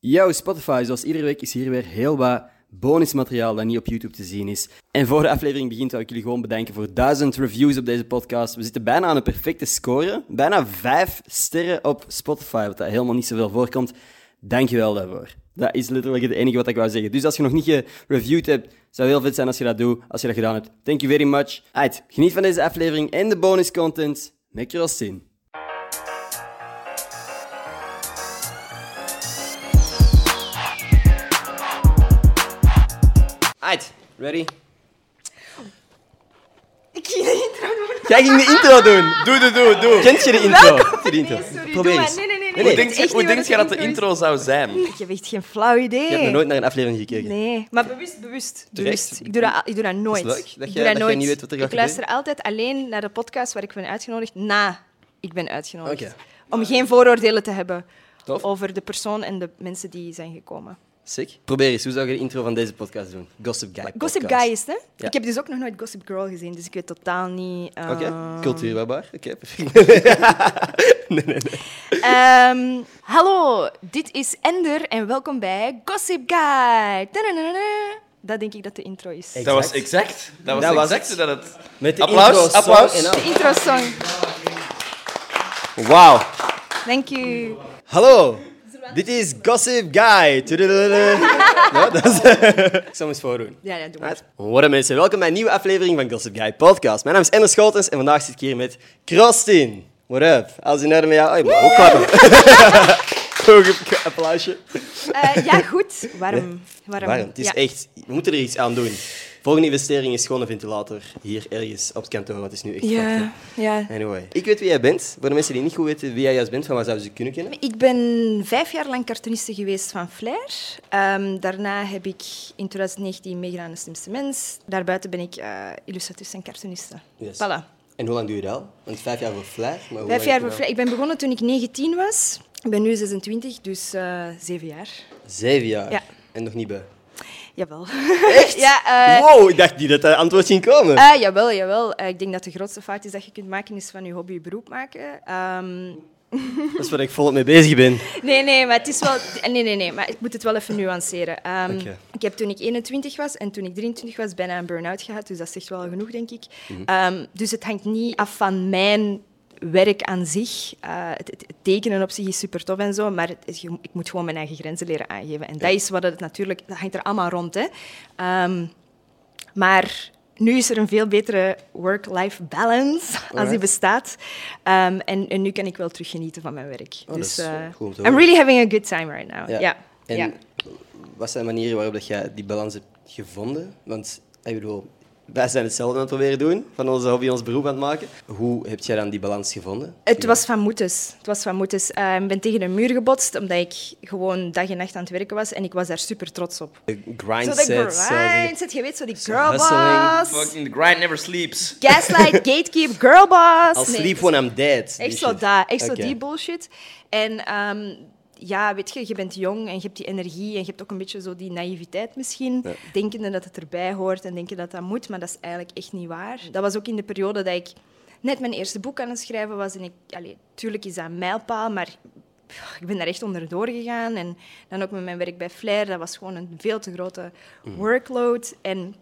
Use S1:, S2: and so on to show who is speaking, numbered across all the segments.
S1: Yo Spotify, zoals iedere week is hier weer heel wat bonusmateriaal dat niet op YouTube te zien is. En voor de aflevering begint zou ik jullie gewoon bedanken voor duizend reviews op deze podcast. We zitten bijna aan een perfecte score. Bijna vijf sterren op Spotify, wat dat helemaal niet zoveel voorkomt. Dankjewel daarvoor. Dat is letterlijk het enige wat ik wou zeggen. Dus als je nog niet gereviewd hebt, zou heel vet zijn als je dat doet. Als je dat gedaan hebt, thank you very much. Uit, geniet van deze aflevering en de bonus content. Make your zin. Uit, ready?
S2: Ik ging de intro doen.
S1: Jij ging de intro doen.
S3: Doe, doe, doe, doe.
S1: Kent je de intro? Kent je de intro?
S2: Nee, sorry,
S1: Probeer
S2: doe
S1: eens.
S2: maar. Nee, nee, nee.
S1: Nee, nee.
S2: nee.
S3: Hoe
S2: het is
S3: denk, je-
S2: echt
S3: hoe
S2: niet
S3: denk jij dat
S2: wat
S3: de
S2: is.
S3: intro zou zijn?
S2: Ik heb echt geen flauw idee.
S1: Je hebt nog nooit naar een aflevering gekeken.
S2: Nee, maar bewust, bewust. bewust. Ik, doe dat, ik doe dat nooit.
S1: leuk dat
S2: Ik
S1: jij-
S2: doe
S1: dat jij
S2: nooit.
S1: niet weet wat er gaat
S2: Ik luister altijd alleen naar de podcast waar ik ben uitgenodigd na ik ben uitgenodigd.
S1: Oké.
S2: Om geen vooroordelen te hebben
S1: Tof.
S2: over de persoon en de mensen die zijn gekomen.
S1: Sick. Probeer eens, hoe zou je de intro van deze podcast doen? Gossip Guy.
S2: Gossip
S1: podcast.
S2: Guy is het, hè?
S1: Ja.
S2: Ik heb dus ook nog nooit Gossip Girl gezien, dus ik weet totaal niet... eh,
S1: Oké, cultuurbarbaar. Oké, perfect.
S2: Ehm, hallo, dit is Ender en welkom bij Gossip Guy. Tadadadada. Dat denk ik dat de intro is. De
S3: Dat was exact. Dat was
S1: Dat was
S3: exact dat het...
S1: Met de
S3: Applaus,
S1: intro, song
S3: applaus.
S1: en al.
S2: intro song.
S1: Wauw.
S2: Thank you.
S1: Hallo, dit is Gossip Guy. Tudududu. Ja, dat is... Ik zal hem eens voordoen.
S2: Ja, ja, doe maar.
S1: Hoi mensen, welkom bij een nieuwe aflevering van Gossip Guy Podcast. Mijn naam is Ender Schotens en vandaag zit ik hier met Krostin. What up? Als in orde met jou... Oh, je mag ook klappen. Ook een applausje.
S2: Eh, ja, goed. Warm. Warm.
S1: Warm. Het is
S2: Ja.
S1: echt... We moeten er iets aan doen. Volgende investering is gewoon een ventilator hier ergens op het kantoor. Want het is nu echt prachtig.
S2: Ja, ja.
S1: Anyway. Ik weet wie jij bent. Voor de mensen die niet goed weten wie jij juist bent, van waar zouden ze je kunnen kennen?
S2: Ik ben vijf jaar lang cartooniste geweest van Flair. Ehm, daarna heb ik in 2019 meegedaan aan de Slimste Mens. Daarbuiten ben ik eh illustratrice en cartooniste.
S1: Yes.
S2: Voilà.
S1: En hoe lang doe je dat al? Want vijf jaar voor Flair. Maar hoe
S2: Vijf
S1: lang doe
S2: jaar voor
S1: je
S2: Flair. Ik ben begonnen toen ik 19 was. Ik ben nu 26, dus eh, zeven jaar.
S1: dat al? Zeven jaar.
S2: Ja.
S1: En nog niet bij.
S2: Jawel.
S1: Echt?
S2: ja, eh,
S1: Wow, ik dacht niet dat dat antwoord ging komen.
S2: Ah, jawel, jawel. Eh, ik denk dat de grootste fout is dat je kunt maken, is van je hobby je beroep maken. Ehm,
S1: Dat is waar ik volop mee bezig ben.
S2: nee, nee, maar het is wel... Nee, nee, nee, maar ik moet het wel even nuanceren. Ehm,
S1: Oké.
S2: Ik heb toen ik 21 was en toen ik 23 was bijna een burn-out gehad, dus dat zegt wel genoeg, denk ik.
S1: Mhm.
S2: Ehm, dus het hangt niet af van mijn werk aan zich. Eh, het, het- het tekenen op zich is super tof en zo, maar het is- je- ik moet gewoon mijn eigen grenzen leren aangeven. En dat is wat het natuurlijk... Dat hangt er allemaal rond, hè. Ehm, maar nu is er een veel betere work-life balance, als die
S1: Alright.
S2: bestaat. Ehm, en, en nu kan ik wel terug genieten van mijn werk.
S1: Oh,
S2: dus,
S1: dat is,
S2: eh,
S1: eh, goed om te
S2: I'm
S1: horen.
S2: really having a good time right now. Ja.
S1: En
S2: ja.
S1: wat zijn de manieren waarop dat jij die balans hebt gevonden? Want, ik bedoel, wij zijn hetzelfde aan het proberen doen. Van onze hobby ons beroep aan het maken. Hoe heb jij dan die balans gevonden?
S2: Het was van moetes. Het was van moetes. Eh, ik ben tegen een muur gebotst, omdat ik gewoon dag en nacht aan het werken was. En ik was daar super trots op.
S1: De
S2: Zo
S1: grind
S2: dat
S1: set.
S2: grind, je weet zo die girl
S1: hustling.
S2: boss.
S3: Fucking the grind never sleeps.
S2: Gaslight, gatekeep, girl boss.
S1: I'll
S2: Nee,
S1: sleep when I'm dead. die
S2: Echt zo
S1: shit.
S2: dat, echt
S1: Oké.
S2: zo die bullshit. En ehm, ja, weet je, je bent jong en je hebt die energie en je hebt ook een beetje zo die naïviteit misschien. Denkende dat het erbij hoort en denken dat dat moet, maar dat is eigenlijk echt niet waar. Dat was ook in de periode dat ik net mijn eerste boek aan het schrijven was. En ik, allee, tuurlijk is dat een mijlpaal, maar pff, ik ben daar echt onderdoor gegaan. En dan ook met mijn werk bij Flair, dat was gewoon een veel te grote workload. En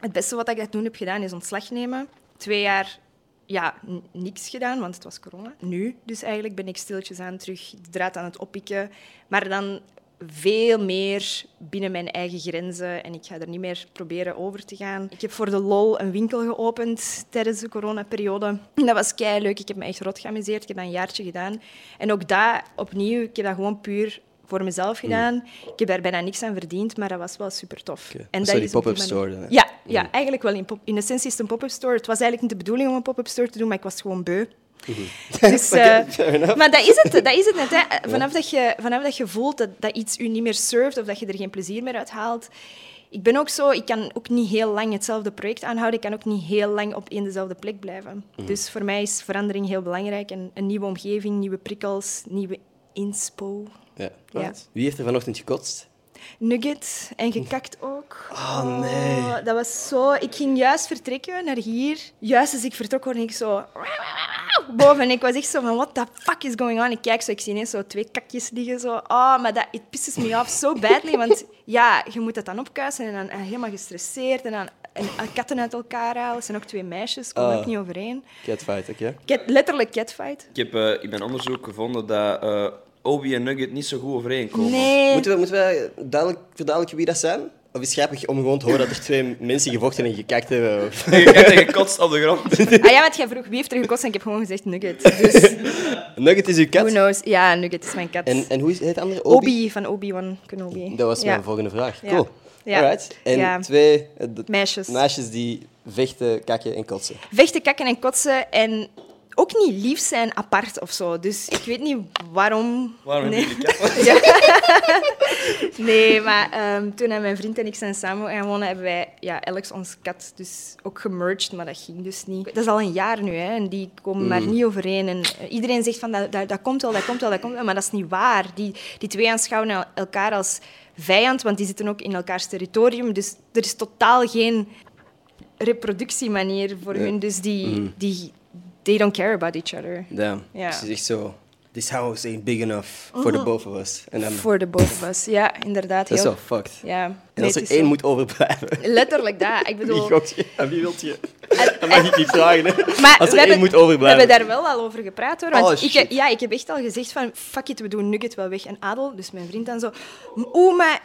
S2: het beste wat ik dat toen heb gedaan is ontslag nemen. Twee jaar ja, n- niks gedaan, want het was corona. Nu dus eigenlijk ben ik stiltjes aan terug de draad aan het oppikken. Maar dan veel meer binnen mijn eigen grenzen en ik ga er niet meer proberen over te gaan. Ik heb voor de lol een winkel geopend tijdens de coronaperiode. En Dat was kei leuk. Ik heb me echt rot geamuseerd. Ik heb dat een jaartje gedaan. En ook daar opnieuw, ik heb dat gewoon puur voor mezelf
S1: Mm.
S2: gedaan. Ik heb daar bijna niks aan verdiend, maar dat was wel super tof.
S1: Oké.
S2: En
S1: Dat
S2: dat
S1: zou die
S2: is op
S1: pop-up
S2: manier-
S1: store dan, hè?
S2: Ja, ja eigenlijk wel. In, pop- in essentie is het een pop-up store. Het was eigenlijk niet de bedoeling om een pop-up store te doen, maar ik was gewoon beu. Dus, eh, maar dat is het, dat is het net. Hè. Eh, Vanaf, dat je, vanaf dat je voelt dat, dat iets u niet meer served of dat je er geen plezier meer uit haalt. Ik ben ook zo, ik kan ook niet heel lang hetzelfde project aanhouden. Ik kan ook niet heel lang op één dezelfde plek blijven. Dus voor mij is verandering heel belangrijk. En een nieuwe omgeving, nieuwe prikkels, nieuwe inspo.
S1: Ja.
S2: Ja.
S1: Wie heeft er vanochtend gekotst?
S2: Nugget en gekakt ook. ook.
S1: Ah,
S2: Oh nee. Dat was zo... Ik ging juist vertrekken naar hier. Juist als ik vertrok hoorde ik zo... Boven. En ik was echt zo van, what the fuck is going on? Ik kijk zo, ik zie ineens zo twee kakjes liggen. Zo. Oh, maar dat it pisses me off so badly. Want ja, je moet dat dan opkuisen en dan eh, helemaal gestresseerd. En dan en, eh, katten uit elkaar halen. Het zijn ook twee meisjes, kom
S1: Ah.
S2: ook niet overeen.
S1: Catfight, oké.
S2: Cat, letterlijk catfight.
S3: Ik heb eh, in mijn onderzoek gevonden dat eh, Obi en Nugget niet zo goed overeenkomen.
S2: Nee.
S1: Moeten we, moeten we duidelijk, verduidelijken wie dat zijn? Of is het grappig om gewoon te horen dat er twee mensen gevochten en gekakt hebben? Of-
S3: Je hebt er gekotst op de grond.
S2: Ah ja, want jij vroeg wie heeft er gekost en ik heb gewoon gezegd Nugget. Dus
S1: Nugget is uw
S2: who
S1: kat.
S2: knows. Ja, Nugget is mijn kat.
S1: En, en hoe is het andere?
S2: Obi. van Obi-Wan Kenobi.
S1: Dat was
S2: ja.
S1: mijn volgende vraag.
S2: Ja.
S1: Cool.
S2: Ja.
S1: Alright. En
S2: Ja. dus-
S1: twee eh, de-
S2: Meisjes.
S1: meisjes die vechten, kakken en kotsen.
S2: Vechten, kakken en kotsen en ook niet lief zijn apart of zo. Dus ik weet niet waarom.
S3: Waarom
S2: nee.
S3: heb je die kat?
S2: Nee, maar ehm, toen hij mijn vriend en ik zijn samen gaan wonen, hebben wij ja, Alex, onze kat, dus ook gemerged, maar dat ging dus niet. Dat is al een jaar nu, hè, en die komen maar
S1: Mm.
S2: niet overeen. En eh, iedereen zegt van, dat, dat, dat komt wel, dat komt wel, dat komt wel, maar dat is niet waar. Die, die twee aanschouwen el- elkaar als vijand, want die zitten ook in elkaars territorium, dus er is totaal geen reproductiemanier voor hun, dus die,
S1: Mm-hmm.
S2: die... They don't care about each other.
S1: Damn.
S2: Ja.
S1: Dus het is echt zo... This house ain't big enough for the both of us. En dan...
S2: Voor de boven was. Ja, inderdaad.
S1: Dat is
S2: heel-
S1: wel fucked.
S2: Ja.
S1: En
S2: Nee,
S1: als
S2: het
S1: er
S2: is
S1: één
S2: zo.
S1: moet overblijven,
S2: Letterlijk dat. Ik
S1: wie
S2: bedoel...
S1: gokt je? Aan wie wilt je?
S2: en-
S1: Dat mag ik niet vragen. hè.
S2: Maar
S1: als er één
S2: we hebben,
S1: moet
S2: we
S1: overblijven.
S2: hebben daar wel al over gepraat hoor. Want
S1: Oh, shit.
S2: ik, ja, ik heb echt al gezegd van fuck it, we doen Nugget wel weg. En Adel, dus mijn vriend dan zo. Oeh, maar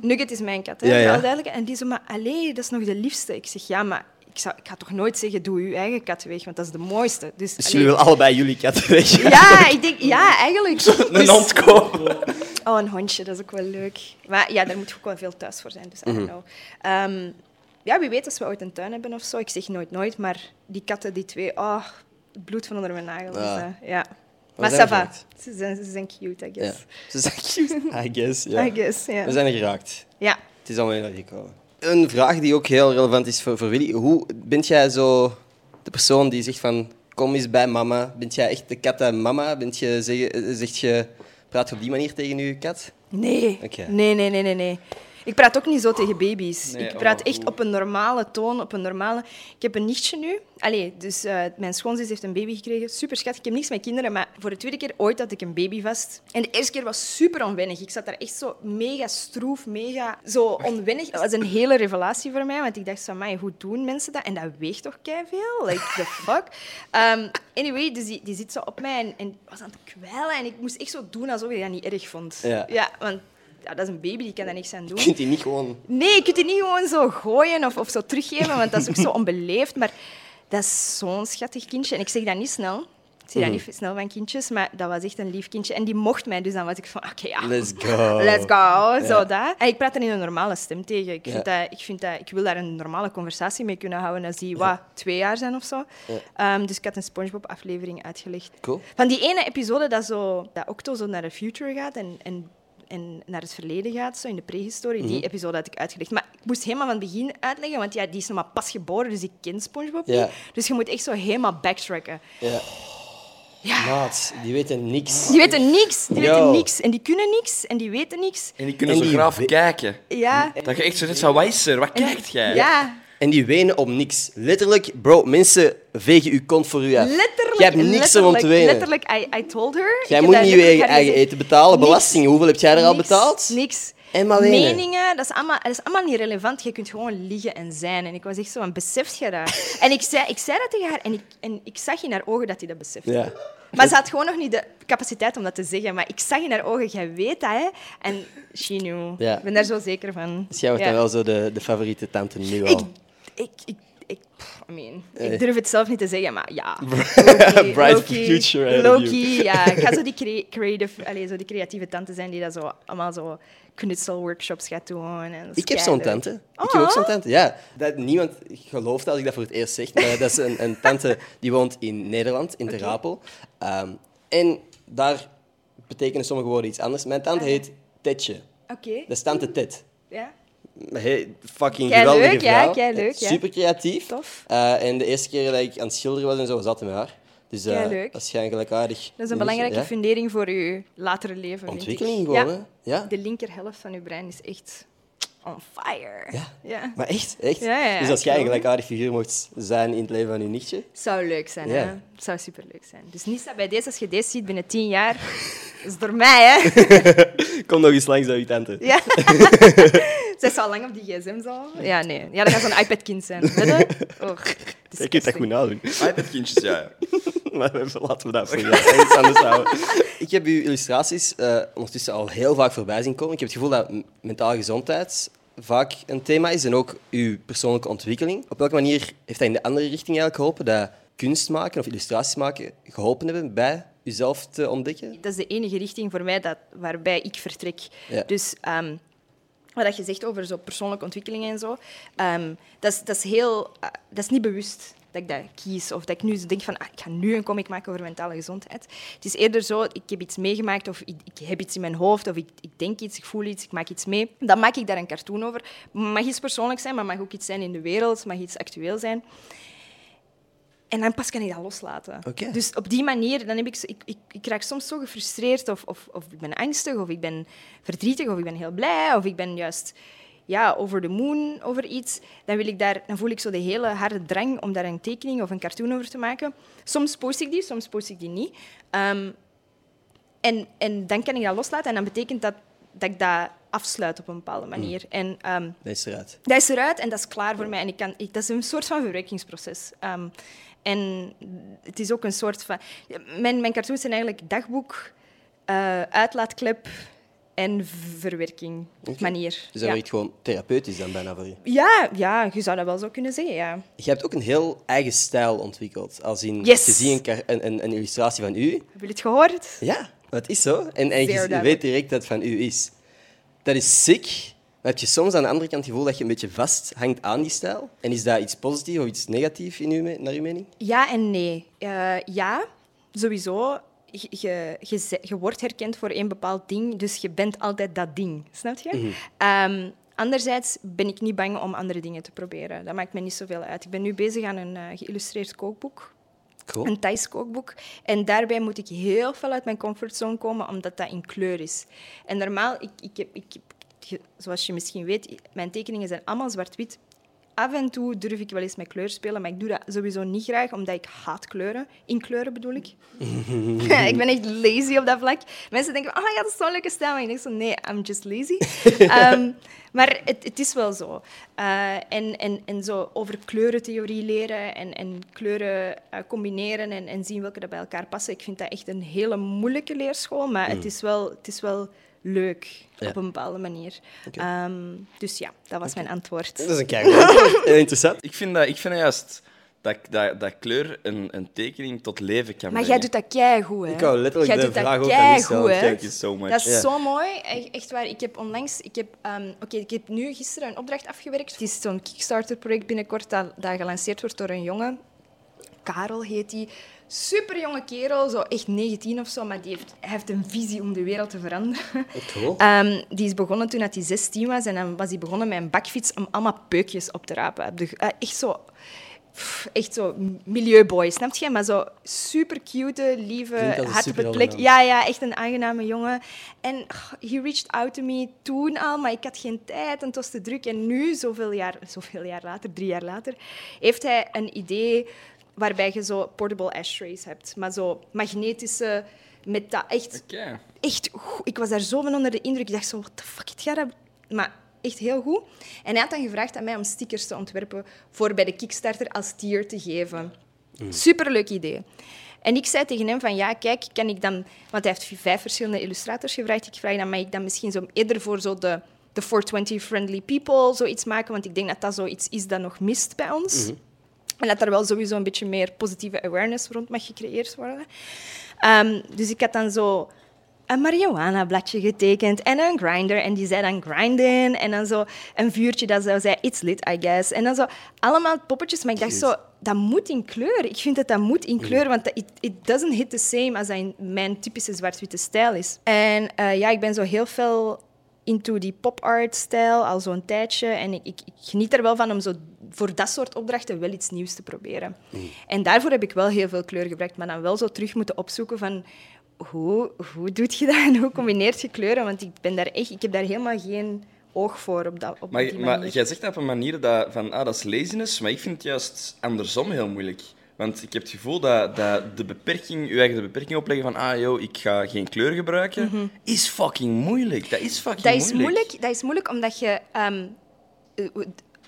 S2: Nugget is mijn kat, hè,
S1: Ja, ja.
S2: wel duidelijk. En die zo, maar allee, dat is nog de liefste. Ik zeg ja, maar ik, zou, ik ga toch nooit zeggen doe uw eigen kat weg, want dat is de mooiste. Dus,
S1: Dus
S2: allee.
S1: jullie willen allebei jullie kat weg.
S2: ja, ik denk, ja, eigenlijk.
S3: Een
S2: Dus-
S3: hond kopen.
S2: Oh, een hondje, dat is ook wel leuk. Maar ja, daar moet je ook wel veel thuis voor zijn, dus I don't know. Ehm, ja, wie weet als we ooit een tuin hebben of zo. Ik zeg nooit nooit, maar die katten, die twee, oh, het bloed van onder mijn nagels.
S1: Ah.
S2: eh, ja.
S1: Maar
S2: Maar
S1: zijn
S2: ça
S1: we
S2: va.
S1: geraakt?
S2: Ze zijn, ze zijn cute, I
S1: Ja.
S2: guess.
S1: Ze zijn cute. I guess, ja.
S2: I guess, ja.
S1: We zijn er geraakt.
S2: Ja.
S1: Het is allemaal naar gekomen. Een vraag die ook heel relevant is voor, voor Willy. Hoe bent jij zo de persoon die zegt van kom eens bij mama? Bent jij echt de kat aan mama? Bent je, zeg, eh, zegt je, praat je op die manier tegen je kat?
S2: Nee.
S1: Oké.
S2: Nee, nee, nee, nee, nee. Ik praat ook niet zo tegen baby's.
S3: Nee,
S2: ik praat
S3: oh,
S2: echt
S3: goed.
S2: op een normale toon, op een normale... Ik heb een nichtje nu. Allee, dus eh, mijn schoonzus heeft een baby gekregen. Super schat. Ik heb niks met kinderen, maar voor de tweede keer ooit had ik een baby vast. En de eerste keer was super onwennig. Ik zat daar echt zo mega stroef, mega zo onwennig. Dat was een hele revelatie voor mij, want ik dacht van, mij, hoe doen mensen dat? En dat weegt toch veel? Like, the fuck? Ehm, anyway, dus die, die zit zo op mij en, en was aan het kwijlen. En ik moest echt zo doen alsof ik dat niet erg vond.
S1: Ja.
S2: Ja, want ja, dat is een baby, die kan daar niks aan doen.
S1: Kunt je niet gewoon...
S2: Nee, je kunt die niet gewoon zo gooien of, of zo teruggeven, want dat is ook zo onbeleefd. Maar dat is zo'n schattig kindje. En ik zeg dat niet snel. Ik zeg dat
S1: Mm.
S2: niet snel van kindjes, maar dat was echt een lief kindje. En die mocht mij, dus dan was ik van, oké, ja,
S1: Let's go.
S2: let's go, zo dat. En ik praat er in een normale stem tegen. Ik, vind
S1: Ja.
S2: dat, ik, vind dat, ik wil daar een normale conversatie mee kunnen houden als die, wat, twee jaar zijn of zo. Ehm, dus ik had een Spongebob-aflevering uitgelegd.
S1: Cool.
S2: Van die ene episode dat, zo, dat Octo zo naar de future gaat en, en, en naar het verleden gaat, zo in de prehistorie, die
S1: Mhm.
S2: episode had ik uitgelegd. Maar ik moest helemaal van het begin uitleggen, want ja, die is nog maar pas geboren, dus ik ken SpongeBob
S1: Ja.
S2: niet. Dus je moet echt zo helemaal backtracken.
S1: Ja.
S2: Ja.
S1: Maat, die weten niks.
S2: Die weten niks, die
S1: Nou. Yo.
S2: weten niks. En die kunnen niks, en die weten niks.
S3: En die kunnen
S1: En
S3: zo
S1: die
S3: graaf
S1: we-
S3: kijken.
S2: Ja.
S3: Dat je echt zo zit van, wat is er? Wat kijkt jij?
S2: Ja.
S1: En die wenen om niks. Letterlijk, bro, mensen vegen uw kont voor u af.
S2: Letterlijk,
S1: Jij hebt niks om om te
S2: letterlijk,
S1: wenen.
S2: Letterlijk, I, I told her. Ik
S1: Jij
S2: heb
S1: moet
S2: dat
S1: niet je
S2: letterlijk
S1: eigen,
S2: haar
S1: eigen
S2: gezegd.
S1: eten betalen.
S2: Niks.
S1: Belastingen, hoeveel heb jij er al
S2: Niks,
S1: betaald?
S2: Niks.
S1: En maar wenen.
S2: Meningen, dat is, allemaal, dat is allemaal niet relevant. Je kunt gewoon liegen en zijn. En ik was echt zo van, beseft je dat? en ik zei, ik zei dat tegen haar en ik, en ik zag in haar ogen dat hij dat besefte.
S1: Ja.
S2: Maar ze had gewoon nog niet de capaciteit om dat te zeggen. Maar ik zag in haar ogen, jij weet dat, hè? En she knew.
S1: Ja.
S2: Ik ben daar zo zeker van.
S1: Dus jij wordt
S2: Ja.
S1: dan wel zo de, de favoriete tante nu al.
S2: Ik, ik, ik, ik, pff, I mean, ik durf het zelf niet te zeggen, maar ja.
S1: Bright
S2: Low-key-
S1: future ahead of
S2: low-key, ja. Ik ga zo die, crea- creative, allez, zo die creatieve tante zijn die dat zo, allemaal zo knutselworkshops gaat doen. En dat is
S1: Ik heb zo'n
S2: keileuk.
S1: tante. Ik heb ook
S2: Oh.
S1: zo'n tante. Ja, dat niemand gelooft als ik dat voor het eerst zeg. Maar dat is een, een tante die woont in Nederland, in Ter Apel. Ehm, en daar betekenen sommige woorden iets anders. Mijn
S2: Ah.
S1: tante heet Tetje.
S2: Oké,
S1: Dat is tante Tet.
S2: ja.
S1: Hey, fucking
S2: Keileuk,
S1: geweldige
S2: ja,
S1: vrouw.
S2: keileuk, ja.
S1: Super creatief.
S2: Tof.
S1: Eh, en de eerste keer dat ik aan het schilderen was en zo, zat hij met haar. Dus eh
S2: Keileuk.
S1: waarschijnlijk aardig.
S2: Dat is een belangrijke
S1: ja.
S2: fundering voor je latere leven. vind ik.
S1: Ontwikkeling gewoon,
S2: Ja.
S1: hè? Ja.
S2: De linkerhelft van je brein is echt on fire.
S4: Ja.
S2: ja.
S4: Maar echt, echt.
S2: Ja, ja, ja,
S4: dus als jij een
S2: klopt.
S4: gelijkaardig figuur mocht zijn in het leven van je nichtje.
S2: Zou leuk zijn,
S4: Ja.
S2: hè? Het zou superleuk zijn. Dus niet dat bij deze, als je deze ziet binnen tien jaar, is door mij, hè?
S4: Kom nog eens langs bij je tante.
S2: Ja. Zij zou lang op die gsm zal. Ja, nee. Ja, dat gaat zo'n iPad-kind zijn. Weet je? Oh,
S4: Ik kunt dat goed nadoen.
S3: iPad-kindjes, ja. ja.
S4: Maar we- laten we dat voor jou ergens anders houden. Ik heb uw illustraties eh, ondertussen al heel vaak voorbij zien komen. Ik heb het gevoel dat m- mentale gezondheid vaak een thema is en ook uw persoonlijke ontwikkeling. Op welke manier heeft dat in de andere richting eigenlijk geholpen dat kunst maken of illustraties maken geholpen hebben bij uzelf te ontdekken?
S2: Dat is de enige richting voor mij dat, waarbij ik vertrek.
S4: Ja.
S2: Dus ehm, wat je zegt over zo persoonlijke ontwikkelingen en zo, ehm, dat, is, dat is heel... eh, dat is niet bewust dat ik dat kies. Of dat ik nu zo denk van, ah, ik ga nu een comic maken over mentale gezondheid. Het is eerder zo, ik heb iets meegemaakt of ik, ik heb iets in mijn hoofd of ik, ik denk iets, ik voel iets, ik maak iets mee. Dan maak ik daar een cartoon over. Mag iets persoonlijk zijn, maar mag ook iets zijn in de wereld, mag iets actueel zijn. En dan pas kan ik dat loslaten.
S4: Oké.
S2: Dus op die manier, dan heb ik, zo- ik, ik, ik raak soms zo gefrustreerd of, of, of ik ben angstig of ik ben verdrietig of ik ben heel blij of ik ben juist ja, over de moon over iets. Dan, wil ik daar, dan voel ik zo de hele harde drang om daar een tekening of een cartoon over te maken. Soms post ik die, soms post ik die niet. Ehm, en, en dan kan ik dat loslaten en dan betekent dat dat ik dat afsluit op een bepaalde manier. En ehm,
S4: Dat is eruit.
S2: dat is eruit en dat is klaar voor mij. En ik kan, ik- dat is een soort van verwerkingsproces. Ehm, en het is ook een soort van... Mijn, mijn cartoons zijn eigenlijk dagboek, eh, uitlaatklep en verwerking manier.
S4: Dus dat
S2: ja.
S4: werkt gewoon therapeutisch dan bijna voor je.
S2: Ja, ja, je zou dat wel zo kunnen zeggen, ja.
S4: Je hebt ook een heel eigen stijl ontwikkeld. Als in,
S2: Yes.
S4: je ziet een kar- een, een, een illustratie van u
S2: Heb je het gehoord?
S4: Ja, dat is zo. En, en
S2: Zeer
S4: je, je weet
S2: duidelijk.
S4: direct dat het van u is. Dat is sick. Maar heb je soms aan de andere kant het gevoel dat je een beetje vasthangt aan die stijl? En is dat iets positiefs of iets negatiefs in uw, me- naar uw mening?
S2: Ja en nee. Eh, ja, sowieso. Je, je, je, ze- je wordt herkend voor één bepaald ding, dus je bent altijd dat ding. Snap je? Ehm, anderzijds ben ik niet bang om andere dingen te proberen. Dat maakt me niet zoveel uit. Ik ben nu bezig aan een eh, geïllustreerd kookboek.
S4: Cool.
S2: Een Thais kookboek. En daarbij moet ik heel veel uit mijn comfortzone komen, omdat dat in kleur is. En normaal, ik, ik heb, ik, heb- ge- zoals je misschien weet, mijn tekeningen zijn allemaal zwart-wit. Af en toe durf ik wel eens met kleur spelen, maar ik doe dat sowieso niet graag, omdat ik haat kleuren. In kleuren bedoel ik. ik ben echt lazy op dat vlak. Mensen denken, oh ja, dat is zo'n leuke stijl. Maar ik denk zo, nee, I'm just lazy. Ehm, maar het, het is wel zo. Eh, en, en, en zo over kleurentheorie leren en, en kleuren eh, combineren en, en zien welke dat bij elkaar passen. Ik vind dat echt een hele moeilijke leerschool, maar het, is wel, het is wel leuk
S4: Hmm. Ja.
S2: op een bepaalde manier.
S4: Oké.
S2: Ehm, dus ja, dat was mijn antwoord.
S4: Dat is een keihard Heel interessant.
S3: Ik vind dat, ik vind dat juist dat, dat, dat kleur een, een tekening tot leven kan
S2: Maar jij
S3: brengen.
S2: doet dat keigoed, hè?
S4: Ik wou letterlijk
S2: jij
S4: de
S2: doet dat
S4: vraag ook aan u stellen.
S2: keigoed, hè?
S3: Thank you so much.
S2: Dat is
S4: Ja.
S2: zo mooi. E- Echt waar. Ik heb onlangs... Ik heb, ehm, oké, ik heb nu gisteren een opdracht afgewerkt. Het is zo'n Kickstarter-project binnenkort dat, dat gelanceerd wordt door een jongen. Karel heet die. Super jonge kerel, zo echt 19 of zo, maar die heeft, hij heeft een visie om de wereld te veranderen.
S4: Cool.
S2: Ehm, die is begonnen toen dat hij 16 was en dan was hij begonnen met een bakfiets om allemaal peukjes op te rapen. Op de gr- eh, echt zo. pff, Echt zo milieuboy, snap je? Maar zo super cute,
S4: Klinkt als
S2: lieve,
S4: een
S2: hart op het plek.
S4: superhelden
S2: Ja, ja, echt een aangename jongen. En oh, he reached out to me toen al, maar ik had geen tijd en het was te druk. En nu, zoveel jaar, zoveel jaar later, drie jaar later, heeft hij een idee waarbij je zo portable ashtrays hebt. Maar zo magnetische, met dat echt
S3: Oké.
S2: echt goed. Ik was daar zo van onder de indruk. Ik dacht zo, what the fuck, het gaat dat... Maar echt heel goed. En hij had dan gevraagd aan mij om stickers te ontwerpen voor bij de Kickstarter als tier te geven. Superleuk idee. En ik zei tegen hem van, ja, kijk, kan ik dan... Want hij heeft vijf verschillende illustrators gevraagd. Ik vraag dan, mag ik dan misschien zo eerder voor zo de, de 420-friendly people zoiets maken? Want ik denk dat dat zoiets is dat nog mist bij ons. En dat er wel sowieso een beetje meer positieve awareness rond mag gecreëerd worden. Ehm, dus ik had dan zo een marihuana-bladje getekend en een grinder. En die zei dan grinden. En dan zo een vuurtje dat zo zei, it's lit, I guess. En dan zo allemaal poppetjes. Maar ik dacht zo, dat moet in kleur. Ik vind dat dat moet in kleur, want dat- it, it doesn't hit the same als dat in mijn typische zwart-witte stijl is. En eh, ja, ik ben zo heel veel into die pop-art-stijl al zo'n tijdje. En ik, ik, ik geniet er wel van om zo voor dat soort opdrachten wel iets nieuws te proberen.
S3: Mm.
S2: En daarvoor heb ik wel heel veel kleur gebruikt, maar dan wel zo terug moeten opzoeken van... Hoe, hoe doe je dat en hoe combineert je kleuren? Want ik, ben daar echt, ik heb daar helemaal geen oog voor op, dat, op
S3: Maar,
S2: die manier.
S3: maar jij zegt dat op een manier dat, van, ah, dat is laziness, maar ik vind het juist andersom heel moeilijk. Want ik heb het gevoel dat, dat de beperking, je eigen beperking opleggen van, ah joh, ik ga geen kleur gebruiken, is fucking moeilijk. Dat is fucking
S2: Mhm. dat is moeilijk. Dat is moeilijk omdat je ehm, eh,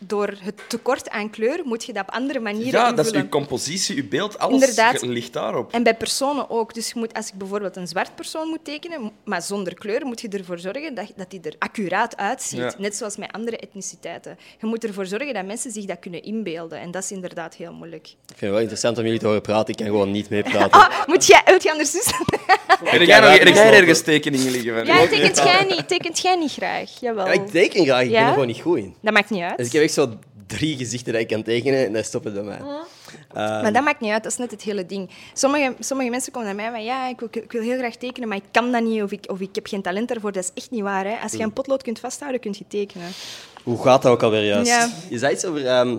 S2: door het tekort aan kleur moet je dat op andere manieren
S3: Ja, dat is
S2: invullen.
S3: uw compositie, uw beeld, alles
S2: Inderdaad.
S3: ge- ligt daarop.
S2: En bij personen ook. Dus je moet, als ik bijvoorbeeld een zwart persoon moet tekenen, mo- maar zonder kleur, moet je ervoor zorgen dat, dat die er accuraat uitziet.
S3: Ja.
S2: Net zoals met andere etniciteiten. Je moet ervoor zorgen dat mensen zich dat kunnen inbeelden. En dat is inderdaad heel moeilijk.
S1: Ik vind het wel interessant om jullie te horen praten. Ik kan gewoon niet meepraten.
S2: Ah, moet jij, wilt jij anders doen?
S3: Heb jij nog heb jij
S1: Ja.
S3: ergens tekeningen liggen van?
S2: Ja, tekent jij niet, tekent jij niet graag? Jawel.
S1: Ja, ik teken graag, ik ben
S2: Ja?
S1: er gewoon niet goed in.
S2: Dat maakt niet
S1: Dus ik
S2: uit.
S1: heb echt zo drie gezichten dat ik kan tekenen en dat stoppen bij mij.
S2: Uh-huh.
S4: Eh,
S2: Maar dat maakt niet uit, dat is net het hele ding. Sommige, sommige mensen komen naar mij van ja, ik wil, ik wil heel graag tekenen, maar ik kan dat niet of ik, of ik heb geen talent daarvoor. Dat is echt niet waar. Hè? Als je een potlood kunt vasthouden, kun je tekenen.
S1: Hoe gaat dat ook alweer juist?
S2: Ja.
S1: Je zei iets over ehm,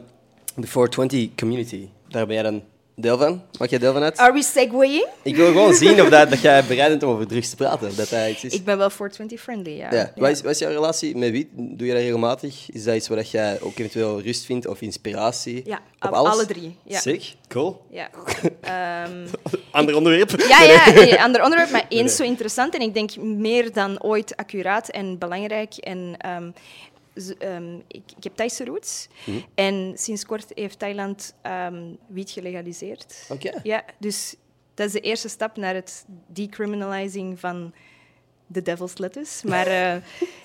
S1: de 420 community. Daar ben jij dan deel van? Maak jij deel van uit?
S2: Are we segueing?
S1: Ik wil gewoon zien of dat, dat jij bereid bent om over drugs te praten. of Dat dat iets is.
S2: Ik ben wel 420 friendly, ja.
S1: Dus Ja. Wat, is, wat is jouw relatie met wie? Doe je dat regelmatig? Is dat iets waar dat jij ook eventueel rust vindt of inspiratie?
S2: Ja,
S1: op
S2: op
S1: alles?
S2: alle drie, ja.
S1: Sick, cool.
S2: Ja. Ehm,
S1: Ander onderwerp.
S2: ja, ja, nee, ander onderwerp, maar eens zo interessant. En ik denk meer dan ooit accuraat en belangrijk. En, ehm, z- ehm, ik, ik heb Thaise roots.
S1: Mhm.
S2: En sinds kort heeft Thailand ehm wiet gelegaliseerd.
S1: Oké.
S2: Ja, dus dat is de eerste stap naar het decriminalizing van de devil's lettuce. Maar eh,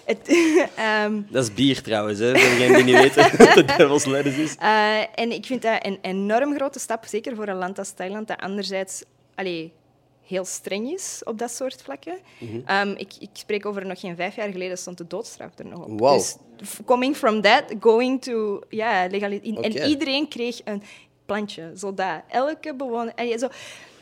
S2: het, ehm,
S1: Dat is bier trouwens, hè, voor degenen die niet weten wat de Devil's Lettuce is.
S2: Eh, en ik vind dat een enorm grote stap, zeker voor een land als Thailand, dat anderzijds allee, heel streng is op dat soort vlakken.
S1: Mhm.
S2: Ehm, ik, ik spreek over nog geen vijf jaar geleden stond de doodstraf er nog op.
S1: Wauw.
S2: Dus f- coming from that, going to... Ja, legali- in-
S1: Oké.
S2: En iedereen kreeg een plantje, zodat elke bewoner... allee, zo.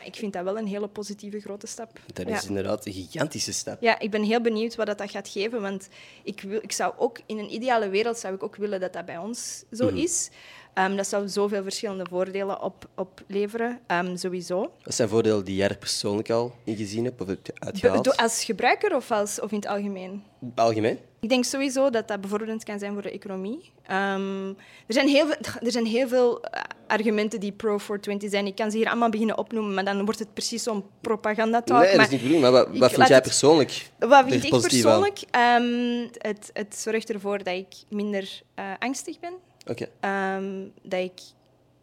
S2: Ik vind dat wel een hele positieve grote stap.
S1: Dat
S2: Ja.
S1: is inderdaad een gigantische stap.
S2: Ja, ik ben heel benieuwd wat dat, dat gaat geven. Want ik, wil, ik zou ook in een ideale wereld zou ik ook willen dat dat bij ons zo
S1: Mhm.
S2: is. Ehm, dat zou zoveel verschillende voordelen op, opleveren, ehm, sowieso.
S1: Wat zijn voordelen die jij er persoonlijk al in gezien hebt of hebt
S2: Be-
S1: uitgehaald?
S2: do- als gebruiker of, als, of in het algemeen?
S1: Algemeen?
S2: Ik denk sowieso dat dat bevorderend kan zijn voor de economie. Ehm, er, zijn heel veel, er zijn heel veel eh, argumenten die pro-420 zijn. Ik kan ze hier allemaal beginnen opnoemen, maar dan wordt het precies zo'n propagandatalk.
S1: nee, dat
S2: maar-
S1: is niet bedoeld, maar wat,
S2: ik
S1: wat vind
S2: laat
S1: jij
S2: het-
S1: persoonlijk?
S2: Wat
S1: er
S2: vind ik
S1: positief aan?
S2: persoonlijk? Ehm, het, het zorgt ervoor dat ik minder eh, angstig ben.
S1: Oké.
S2: Ehm, dat ik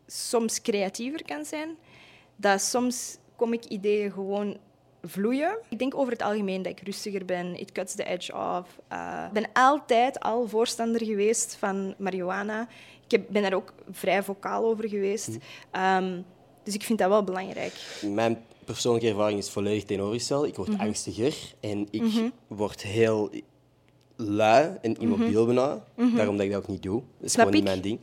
S2: soms creatiever kan zijn. Dat soms kom ik ideeën gewoon vloeien. Ik denk over het algemeen dat ik rustiger ben. It cuts the edge off. Eh, Ik ben altijd al voorstander geweest van marihuana. Ik heb- ben daar ook vrij vocaal over geweest.
S1: Hm.
S2: Ehm, dus ik vind dat wel belangrijk.
S1: Mijn persoonlijke ervaring is volledig tegenovergesteld. Ik
S2: Mhm.
S1: word angstiger en ik word heel lui en immobiel bijna. Daarom dat ik dat ook niet doe. Dat is
S2: Mhm. Snap
S1: gewoon niet
S2: ik.
S1: mijn ding.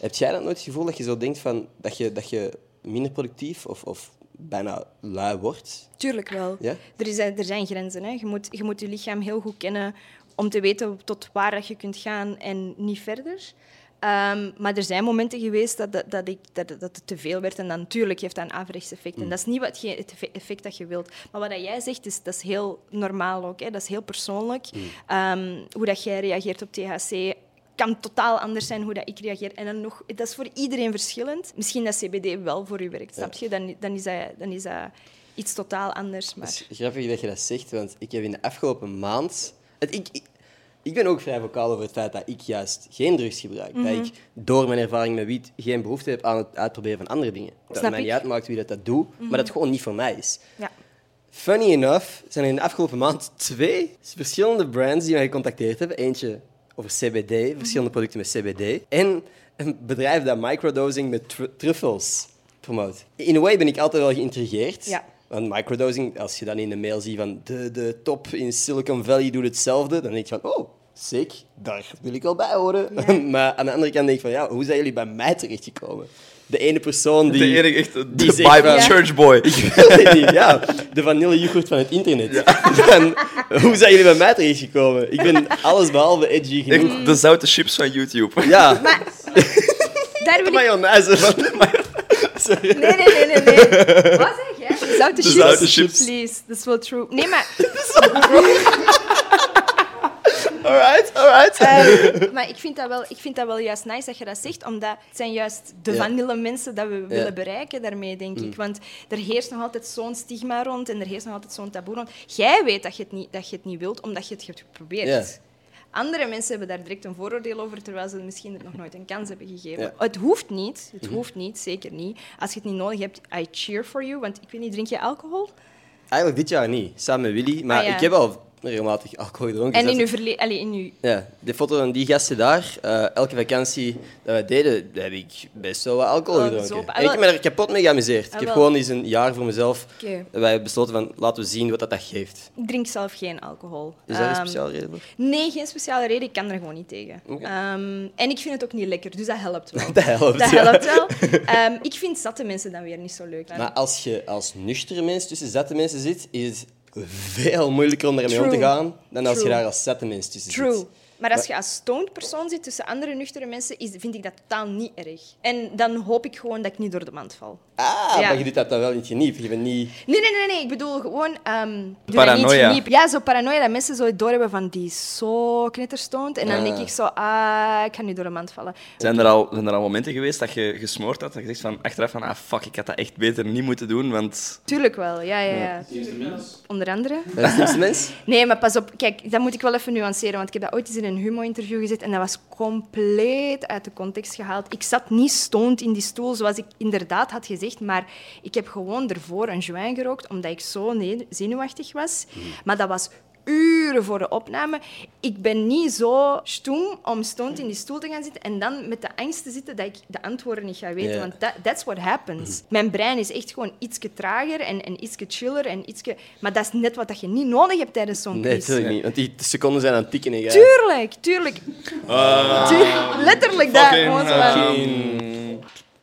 S1: Heb jij dat nooit het gevoel dat je zo denkt van, dat, je, dat je minder productief of, of bijna lui wordt?
S2: Tuurlijk wel.
S1: Ja?
S2: Er, is, eh, er zijn grenzen. Hè. Je, moet, je moet je lichaam heel goed kennen om te weten tot waar dat je kunt gaan en niet verder. Ehm, maar er zijn momenten geweest dat, dat, dat, ik, dat, dat het te veel werd. En dan natuurlijk heeft dat een averechts effect. En dat is niet wat je, het effe- effect dat je wilt. Maar wat dat jij zegt, is, dat is heel normaal ook. Hè. Dat is heel persoonlijk. Ehm, hoe dat jij reageert op THC kan totaal anders zijn hoe dat ik reageer. En dan nog, dat is voor iedereen verschillend. Misschien dat CBD wel voor u werkt, snap je? Dan, dan, is, dat, dan is dat iets totaal anders. Maar...
S1: Het is grappig dat je dat zegt, want ik heb in de afgelopen maand... Het, ik, ik, ik ben ook vrij vocaal over het feit dat ik juist geen drugs gebruik.
S2: Mhm.
S1: Dat ik door mijn ervaring met wiet geen behoefte heb aan het uitproberen van andere dingen. Dat het
S2: Snap
S1: mij
S2: ik. Mhm.
S1: niet uitmaakt wie dat, dat doet, maar dat het gewoon niet voor mij is.
S2: Ja.
S1: Funny enough zijn er in de afgelopen maand twee verschillende brands die mij gecontacteerd hebben. Eentje over CBD, verschillende producten met CBD. En een bedrijf dat microdosing met tru- truffels promoot. In a way ben ik altijd wel geïntrigeerd.
S2: Ja.
S1: Want microdosing, als je dan in de mail ziet van de, de top in Silicon Valley doet hetzelfde, dan denk je van, oh, sick, daar wil ik wel bij horen.
S2: Ja.
S1: maar aan de andere kant denk ik van, ja, hoe zijn jullie bij mij terechtgekomen? De ene persoon die...
S3: de enige echt,
S1: die
S3: de
S1: zegt
S3: Bible
S1: van-
S3: Church Boy.
S1: Ik wil dit niet, ja. De vanillejoghurt van het internet. Dan, hoe zijn jullie bij mij terechtgekomen? Ik ben allesbehalve edgy genoeg.
S2: Mm.
S3: Echt de zoute chips van YouTube.
S1: Ja,
S2: Maar daar
S1: de
S2: wil ik...
S1: mayonaise van de mayo- Sorry.
S2: Nee, nee, nee, nee. nee. Wat zeg jij? De Zoute chips.
S3: zoute chips.
S2: Please, dat is wel true. Nee, maar...
S1: Alright, alright.
S2: Eh, maar ik vind, dat wel, ik vind dat wel juist nice dat je dat zegt, omdat het zijn juist de
S1: Ja. Mm.
S2: vanille mensen dat we willen bereiken daarmee, denk ik. Want er heerst nog altijd zo'n stigma rond en er heerst nog altijd zo'n taboe rond. Jij weet dat je het niet, dat je het niet wilt, omdat je het hebt geprobeerd.
S1: Ja.
S2: Andere mensen hebben daar direct een vooroordeel over, terwijl ze misschien het nog nooit een kans hebben gegeven.
S1: Ja. Mhm.
S2: Het hoeft niet, het hoeft niet, zeker niet. Als je het niet nodig hebt, I cheer for you. Want ik weet niet, drink je alcohol?
S1: Eigenlijk dit jaar niet, samen met Willy. Maar
S2: Ah, ja.
S1: ik heb al regelmatig alcohol gedronken.
S2: en
S1: dus
S2: in
S1: dat-
S2: uw verleden, allee, in uw
S1: Ja, de foto van die gasten daar, eh, elke vakantie dat wij deden, daar heb ik best wel wat alcohol
S2: Oh, Ah, Wel
S1: gedronken.
S2: gezopen.
S1: En ik heb me daar kapot mee geamuseerd. Ik
S2: Ah,
S1: heb
S2: wel.
S1: gewoon eens een jaar voor mezelf
S2: Oké.
S1: eh, wij hebben besloten van laten we zien wat dat, dat geeft.
S2: Ik drink zelf geen alcohol.
S1: Is daar een
S2: Ehm,
S1: speciale reden voor?
S2: Nee, geen speciale reden. Ik kan er gewoon niet tegen.
S1: Oké.
S2: Ehm, en ik vind het ook niet lekker, dus dat helpt wel.
S1: Dat helpt,
S2: Dat
S1: ja.
S2: helpt wel. Ehm, ik vind zatte mensen dan weer niet zo leuk.
S1: Maar als je als nuchtere mens tussen zette mensen zit, is het veel moeilijker om ermee om te
S2: True.
S1: gaan dan als je
S2: True.
S1: daar als zette mens tussen
S2: True.
S1: zit.
S2: Maar als je als stoned persoon zit tussen andere nuchtere mensen, is, vind ik dat totaal niet erg. En dan hoop ik gewoon dat ik niet door de mand val.
S1: Ah,
S2: Ja.
S1: maar je doet dat dan wel in het geniep. Je bent niet...
S2: Nee, nee, nee, nee. Ik bedoel gewoon... ehm, doe Dat niet
S3: Paranoia.
S2: geniep. ja, zo paranoia dat mensen zo doorhebben van die is zo knetterstoond. En dan
S1: Ah.
S2: denk ik zo, ah, ik ga nu door de mand vallen.
S3: Zijn er, al, zijn er al momenten geweest dat je gesmoord had? Dat je zegt van achteraf van, ah fuck, ik had dat echt beter niet moeten doen, want...
S2: Tuurlijk wel, ja, ja, ja. Onder andere.
S1: Dat is niks mens.
S2: Nee, maar pas op. Kijk, dat moet ik wel even nuanceren. Want ik heb dat ooit eens in een humo-interview gezet. En dat was compleet uit de context gehaald. Ik zat niet stoned in die stoel, zoals ik inderdaad had gezegd. Maar ik heb gewoon ervoor een joint gerookt, omdat ik zo ne- zenuwachtig was. Maar dat was uren voor de opname. Ik ben niet zo stoem om stoned in die stoel te gaan zitten en dan met de angst te zitten dat ik de antwoorden niet ga weten.
S1: Ja.
S2: Want that, that's what happens.
S1: Mhm.
S2: Mijn brein is echt gewoon ietsje trager en, en ietsje chiller. En ietsje... Maar dat is net wat dat je niet nodig hebt tijdens zo'n
S1: Nee,
S2: quiz.
S1: natuurlijk niet. Want die seconden zijn aan het tikken. hè, ja.
S2: Tuurlijk, tuurlijk. Tuur- letterlijk dat.
S3: Eh, fucking,
S2: Gewoon zo
S3: eh,
S2: van-
S1: Ehm,
S2: Ehm,